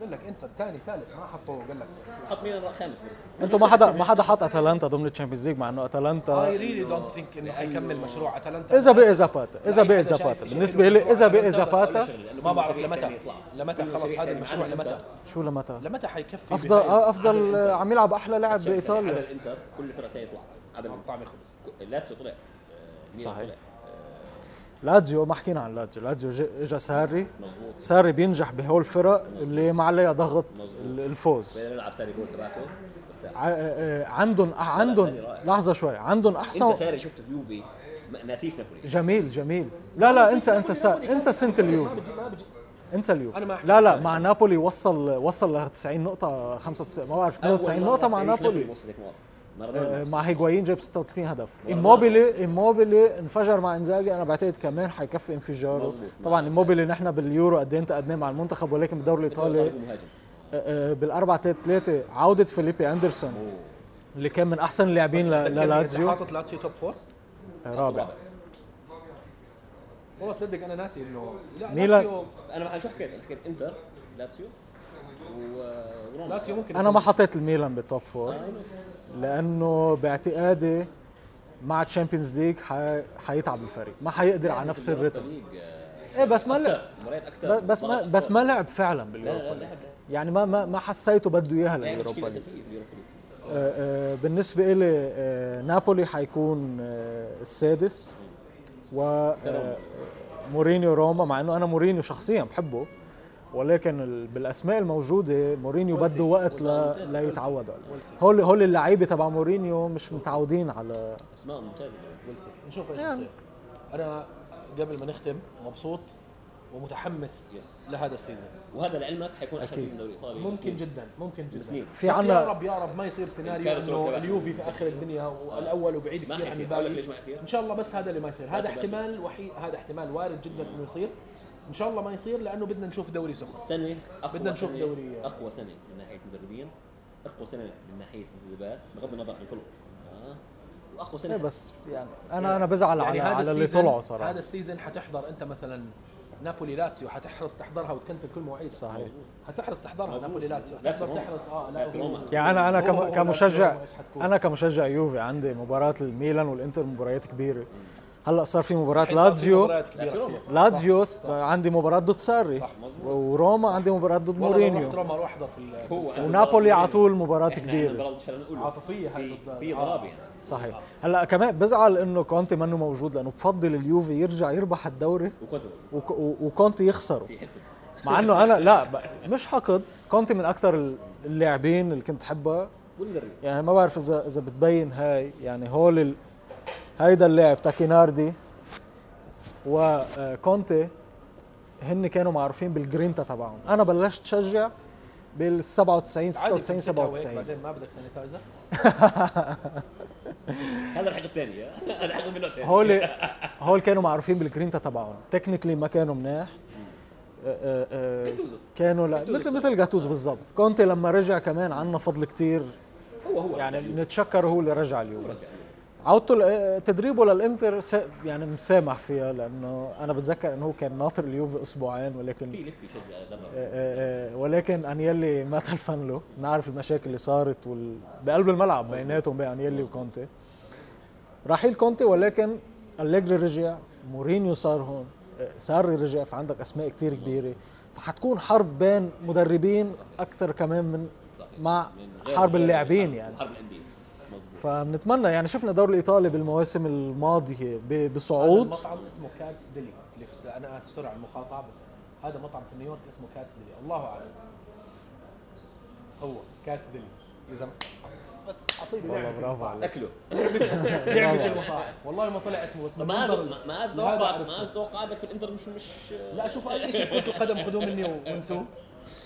Speaker 1: قال لك انتر ثاني ثالث ما حطوه قال لك
Speaker 3: حط مين الرا- خامس
Speaker 2: انتوا ما حدا ما حدا حط اتلانتا ضمن الشامبيونز ليج مع انه
Speaker 1: اي
Speaker 2: اتلانتا
Speaker 1: ريلي دونت ثينك انه حيكمل مشروع اتلانتا
Speaker 2: اذا بقي زاباتا اذا
Speaker 1: لا،
Speaker 2: بقي
Speaker 1: أنا شايف
Speaker 2: زاباتا
Speaker 1: إنه
Speaker 2: بالنسبه لي
Speaker 1: مشروع
Speaker 2: اذا بقي
Speaker 1: أتلانتا بس
Speaker 2: زاباتا
Speaker 1: ما بعرف لمتى لمتى خلص هذا المشروع لمتى
Speaker 2: شو لمتى؟
Speaker 1: لمتى حيكفي
Speaker 2: افضل
Speaker 1: بهاي-
Speaker 2: افضل
Speaker 3: عدل
Speaker 2: عم يلعب احلى لاعب
Speaker 1: يعني
Speaker 3: عدا
Speaker 2: بايطاليا
Speaker 3: الانتر كل فرقه ثانيه طلعت عدا الإنتر.
Speaker 1: طعمي خبز
Speaker 3: ك- لاتسيو طلع آه، ميلان
Speaker 2: صحيح.
Speaker 3: طلع.
Speaker 2: لاتزيو ما حكينا عن لاتزيو لاتزيو ج- اجى ساري
Speaker 3: مظبوط
Speaker 2: ساري بينجح بهول الفرق اللي ما عليها ضغط
Speaker 3: مظبوط.
Speaker 2: ال- الفوز
Speaker 3: بدنا نلعب ساري جول تبعته ارتاح.
Speaker 2: ع- آه، عندهم عندهم
Speaker 3: ساري رائع.
Speaker 2: لحظه شوي عندهم
Speaker 3: انت
Speaker 2: احسن
Speaker 3: ساري شفته في يوفي ما- ناسيه في نابولي
Speaker 2: جميل جميل لا لا انسى انسى سا- انسى سنه
Speaker 1: ما
Speaker 2: اليوفي
Speaker 1: بجي ما بجي
Speaker 2: انسى اليوفي
Speaker 1: أنا ما أحكي
Speaker 2: لا لا
Speaker 1: ساري
Speaker 2: مع نابولي وصل وصل ل 90 نقطه 95 ما بعرف 92
Speaker 3: أول مرة
Speaker 2: نقطه مع
Speaker 3: في تاريخ
Speaker 2: نابولي
Speaker 3: وصلت هيك نقط.
Speaker 2: آه،
Speaker 3: مارادونا
Speaker 2: مع هيغوايين جاب 36 هدف
Speaker 3: مرة.
Speaker 2: اموبيلي اموبيلي انفجر مع انزاجي انا بعتقد كمان حيكفي انفجاره
Speaker 3: مظبوط.
Speaker 2: طبعا اموبيلي نحن باليورو قد ايه تقدناه مع المنتخب ولكن بالدوري الايطالي
Speaker 3: طالب مهاجم
Speaker 2: آه، آه، بالأربعة 3 3 عودة فيليبي أندرسون
Speaker 3: أوه.
Speaker 2: اللي كان من أحسن اللاعبين
Speaker 1: بس
Speaker 2: ل-
Speaker 1: أتذكر إذا
Speaker 2: للاتزيو
Speaker 1: حاطط لاتسيو توب فور
Speaker 2: رابع
Speaker 1: والله تصدق انا ناسي انه لا
Speaker 2: ميلان.
Speaker 1: لاتسيو
Speaker 3: انا ما شو حكيت انا حكيت انتر لاتسيو و- وروما
Speaker 1: لاتسيو ممكن
Speaker 2: أنا ما
Speaker 1: يسوي.
Speaker 2: حطيت الميلان بالتوب فور لأنه باعتقادي مع تشامبيونز ليج حيتعب الفريق ما حيقدر على نفس الريتم إيه بس ما لعب
Speaker 3: آه، مباريات اكثر
Speaker 2: ب- بس ما بس ما لعب فعلا
Speaker 3: لا لا
Speaker 2: باليوروبا
Speaker 3: لا
Speaker 2: ليج.
Speaker 3: لعب
Speaker 2: يعني ما ما ما حسيته بده اياها
Speaker 3: لعب
Speaker 2: لليوروبا
Speaker 3: تشكيله
Speaker 2: ليج.
Speaker 3: اساسيه في اليوروبا ليج
Speaker 2: آه، آه، بالنسبة إلي آه، نابولي حيكون آه، السادس و آه، مورينيو روما مع انه انا مورينيو شخصيا بحبه ولكن ال- بالاسماء الموجوده مورينيو بده وقت ل... ليتعود عليه هول هول اللعيبه تبع مورينيو مش متعودين على
Speaker 3: اسماء ممتازه ويلسون
Speaker 1: نشوف ايش
Speaker 2: يعني.
Speaker 1: بصير انا قبل ما نختم مبسوط ومتحمس
Speaker 3: Yes.
Speaker 1: لهذا السيزون
Speaker 3: وهذا لعلمك حيكون احسن سيزون دوري ايطالي
Speaker 1: ممكن جدا ممكن جدا
Speaker 3: بسنين.
Speaker 2: في
Speaker 1: بس
Speaker 2: عنا-
Speaker 1: يا رب يا رب ما يصير سيناريو
Speaker 3: الكارثة
Speaker 1: انه
Speaker 3: والتبع.
Speaker 1: اليوفي في اخر الدنيا والاول وبعيد
Speaker 3: ما
Speaker 1: كثير عن
Speaker 3: حيصير اقول لك
Speaker 1: الباقي
Speaker 3: ليش ما حيصير
Speaker 1: ان شاء الله بس هذا اللي ما يصير هذا
Speaker 3: بس- بس.
Speaker 1: احتمال وحيد هذا احتمال وارد جدا انه يصير ان شاء الله ما يصير لانه بدنا نشوف دوري سخن
Speaker 3: سنه اقوى
Speaker 1: بدنا نشوف
Speaker 3: سنة-
Speaker 1: دوري-
Speaker 3: اقوى سنه من ناحيه مدربين اقوى سنه من ناحيه انتدابات بغض النظر عن طلوع آه. واقوى سنه
Speaker 2: إيه بس يعني انا انا بزعل على, على اللي
Speaker 1: يعني السيزن-
Speaker 2: طلعوا صراحه
Speaker 1: هذا السيزون حتحضر انت مثلا نابولي لاتسيو حتحرص تحضرها وتكنسل كل مواعيدها
Speaker 2: صحيح
Speaker 1: حتحرص تحضرها نابولي لاتسيو حتحضر
Speaker 3: لاتسيو روما.
Speaker 1: تحرص اه
Speaker 3: لاتسيو
Speaker 1: لا
Speaker 3: روما.
Speaker 1: هو-
Speaker 2: يعني انا
Speaker 1: هو- هو
Speaker 2: كم-
Speaker 1: لاتسيو
Speaker 2: كمشجع
Speaker 1: روما إيش حتكون؟
Speaker 2: انا كمشجع يوفي عندي مباراه الميلان والانتر مباريات كبيره هلا صار في مباراه
Speaker 1: حيصير يعني في
Speaker 2: لاتزيو
Speaker 1: مباريات كبيرة
Speaker 3: لاتسيو
Speaker 1: فيها.
Speaker 3: روما.
Speaker 2: لاتزيو آه، عندي مباراه ضد ساري
Speaker 1: صح، مظبوط.
Speaker 2: وروما عندي مباراه ضد
Speaker 1: والله لو رحت
Speaker 2: مورينيو
Speaker 1: روما اروح احضر في ال- في
Speaker 3: هو
Speaker 2: ونابولي على طول مباراه كبيره
Speaker 3: كبيره
Speaker 1: عاطفية هاي ضد-
Speaker 3: في
Speaker 1: آه.
Speaker 3: غرابه يعني
Speaker 2: صحيح هلا كمان بزعل انه كونتي منه موجود لانه بفضل اليوفي يرجع يربح الدوري
Speaker 3: وكنت
Speaker 2: وك- و- وكونتي يخسره
Speaker 3: في حته
Speaker 2: مع انه انا لا ب- مش حقد كونتي من اكثر اللاعبين اللي كنت حبها
Speaker 3: والمدرب
Speaker 2: يعني ما بعرف اذا اذا بتبين هاي يعني هول ال... هيدا اللاعب تاكيناردي وكونتي هن آه، كانوا معروفين بالجرينتا تبعهم انا بلشت شجع بال 97 96
Speaker 1: بتمسكها وهيك
Speaker 2: 97
Speaker 1: بعدين ما بدك سانيتايزر
Speaker 3: هذا الحق الثاني [LAUGHS] هذا الحق من نوع ثاني
Speaker 2: هول هول كانوا معروفين بالجرينتا تبعهم تكنيكلي ما كانوا مناح أه، أه، أه،
Speaker 3: جاتوزو.
Speaker 2: كانوا لا
Speaker 3: جاتوزو.
Speaker 2: مثل مثل جاتوز بالضبط كونتي لما رجع كمان عنا فضل كتير
Speaker 3: هو هو
Speaker 2: يعني
Speaker 3: يعني
Speaker 2: نتشكر هو اللي رجع اليوم عودته ل- تدريبه للانتر س- يعني مسامح فيها لانه انا بتذكر انه هو كان ناطر اليوفي اسبوعين
Speaker 3: في
Speaker 2: ولكن
Speaker 3: لك يشجع
Speaker 2: آه،
Speaker 3: هذا
Speaker 2: آه، آه، ولكن انيلي ما تلفن له نعرف المشاكل اللي صارت وال... بقلب الملعب بيناتهم بين انيلي وكونتي رحيل كونتي ولكن أليجري رجع مورينيو صار هون آه، ساري رجع فعندك اسماء كتير كبيره فحتكون حرب بين مدربين اكثر كمان من
Speaker 3: صحيح
Speaker 2: مع
Speaker 3: من غير-
Speaker 2: حرب
Speaker 3: غير-
Speaker 2: اللاعبين يعني
Speaker 3: حرب الانديه مظبوط
Speaker 2: فبنتمنى يعني شفنا الدوري الايطالي بالمواسم الماضيه ب-
Speaker 1: هذا
Speaker 2: بصعود
Speaker 1: المطعم اسمه كاتس ديلي اللي في انا اسف سوري على المقاطعه بس هذا مطعم في نيويورك اسمه كاتس ديلي الله اعلم هو كاتس ديلي اذا بس اعطيني
Speaker 2: والله
Speaker 1: لعبه
Speaker 2: برافو عليك
Speaker 3: اكله
Speaker 1: لعبه المطاعم والله ما طلع اسمه بس
Speaker 3: طب
Speaker 1: من
Speaker 3: ما
Speaker 1: منظر
Speaker 3: هذا
Speaker 1: ال-
Speaker 3: ما هذا
Speaker 1: لهذا
Speaker 3: توقع
Speaker 1: عرفته.
Speaker 3: ما هذا توقع عندك في الانتر مش مش
Speaker 1: لا شوف اي شيء كره القدم خذوه مني وانسوه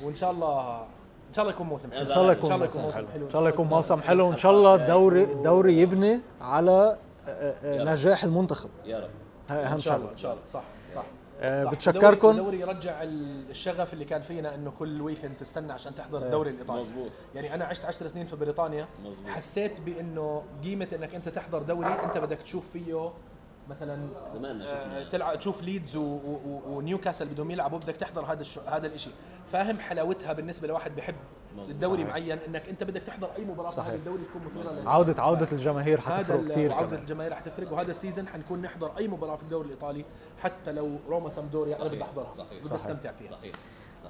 Speaker 1: وان شاء الله ان شاء الله يكون موسم حلو
Speaker 2: ان شاء الله يكون موسم حلو ان شاء الله يكون موسم حلو وان شاء الله الدوري الدوري يبني على آه، آه،
Speaker 3: يا رب.
Speaker 2: نجاح المنتخب
Speaker 3: يا رب
Speaker 2: هاي اهم
Speaker 1: ان شاء الله
Speaker 2: شغله
Speaker 1: ان شاء الله صح صح
Speaker 2: آه،
Speaker 1: صح.
Speaker 2: بتشكركن.
Speaker 1: الدوري يرجع ال- الشغف اللي كان فينا انه كل ويكند تستنى عشان
Speaker 2: إيه،
Speaker 1: تحضر الدوري الايطالي
Speaker 3: مظبوط.
Speaker 1: يعني انا عشت 10 سنين في بريطانيا
Speaker 3: مظبوط.
Speaker 1: حسيت بانه قيمه انك انت تحضر دوري انت بدك تشوف فيه مثلا
Speaker 3: زمان ما
Speaker 1: آه،
Speaker 3: شفنا.
Speaker 1: تلعب تشوف ليدز و- و- و- ونيوكاسل بدهم يلعبوا بدك تحضر هذا الشو هذا الشيء فاهم حلاوتها بالنسبه لواحد بيحب
Speaker 3: مظبوط.
Speaker 1: الدوري
Speaker 2: صحيح.
Speaker 1: معين انك انت بدك تحضر اي مباراه في
Speaker 2: صحيح.
Speaker 1: هذا الدوري تكون مثيره لل-
Speaker 2: عوده عوده الجماهير
Speaker 1: هذا
Speaker 2: حتفرق
Speaker 1: ال-
Speaker 2: كثير
Speaker 1: وعودة
Speaker 2: كمان
Speaker 1: الجماهير رح تفرق وهذا السيزون حنكون نحضر اي مباراه في الدوري الايطالي حتى لو روما سامدوريا انا بدي
Speaker 3: صحيح.
Speaker 1: احضرها
Speaker 3: صحيح.
Speaker 1: بدي استمتع فيها
Speaker 3: صحيح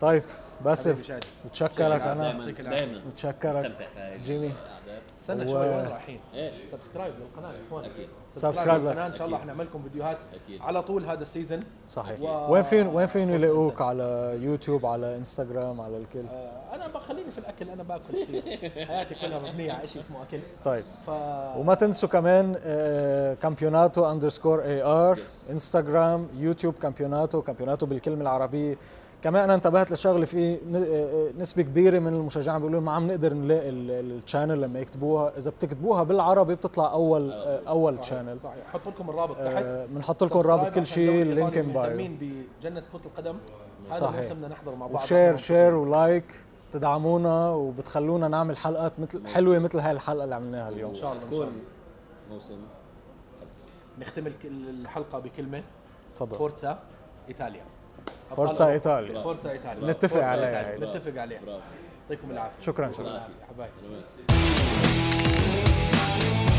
Speaker 2: طيب
Speaker 1: حبيبي
Speaker 2: باسف
Speaker 1: شادي
Speaker 2: بتشكرك انا
Speaker 3: دائما
Speaker 1: يعطيك العافية.
Speaker 3: دائما
Speaker 2: بتشكرك.
Speaker 3: استمتع في هاي
Speaker 2: جيمي.
Speaker 3: الأعداد.
Speaker 1: استنى
Speaker 2: و-
Speaker 1: شوي وين رايحين؟
Speaker 3: ايه
Speaker 1: سبسكرايب للقناه يا اخوان
Speaker 3: أكيد.
Speaker 2: سبسكرايب
Speaker 1: للقناه ان شاء الله
Speaker 3: أكيد.
Speaker 1: حنعمل لكم فيديوهات
Speaker 3: أكيد.
Speaker 1: على طول هذا السيزون
Speaker 2: صحيح
Speaker 1: و-
Speaker 2: وين فين وين فين يلاقوك على يوتيوب على انستغرام على الكل
Speaker 1: آه، انا بخليني في الاكل انا باكل كثير
Speaker 3: [LAUGHS]
Speaker 1: حياتي كلها مبنيه على شيء اسمه اكل
Speaker 2: طيب
Speaker 1: ف
Speaker 2: وما تنسوا كمان آه، كامبيوناتو اندرسكور اي ار انستغرام يوتيوب كامبيوناتو كامبيوناتو بالكلمه العربيه كمان انا انتبهت لشغله في ن- آه، نسبه كبيره من المشجعين بيقولوا ما عم نقدر نلاقي التشانل لما يكتبوها اذا بتكتبوها بالعربي بتطلع اول آه، اول تشانل
Speaker 1: صحيح حط لكم الرابط تحت
Speaker 2: آه، بنحط لكم رابط كل شيء اللينك بايو
Speaker 1: مهتمين بجنه كره القدم هذا
Speaker 2: صحيح.
Speaker 1: مو بدنا نحضر مع بعض
Speaker 2: وشير شير ولايك بتدعمونا وبتخلونا نعمل حلقات مثل حلوه مثل هاي الحلقه اللي عملناها اليوم
Speaker 1: ان نعم. شاء الله ان شاء الله
Speaker 3: تكون موسم
Speaker 1: نختم الك- الحلقه بكلمه
Speaker 2: تفضل
Speaker 1: فورتسا ايطاليا
Speaker 2: فورتسا ايطاليا
Speaker 1: فورتسا ايطاليا
Speaker 2: نتفق
Speaker 1: فورتسا
Speaker 2: عليها يعني.
Speaker 1: إيطاليا.
Speaker 2: هيدي.
Speaker 1: نتفق عليها
Speaker 3: برافو
Speaker 1: يعطيكم العافيه
Speaker 2: شكرا شكرا
Speaker 1: العافية. حبايبي
Speaker 3: تمام.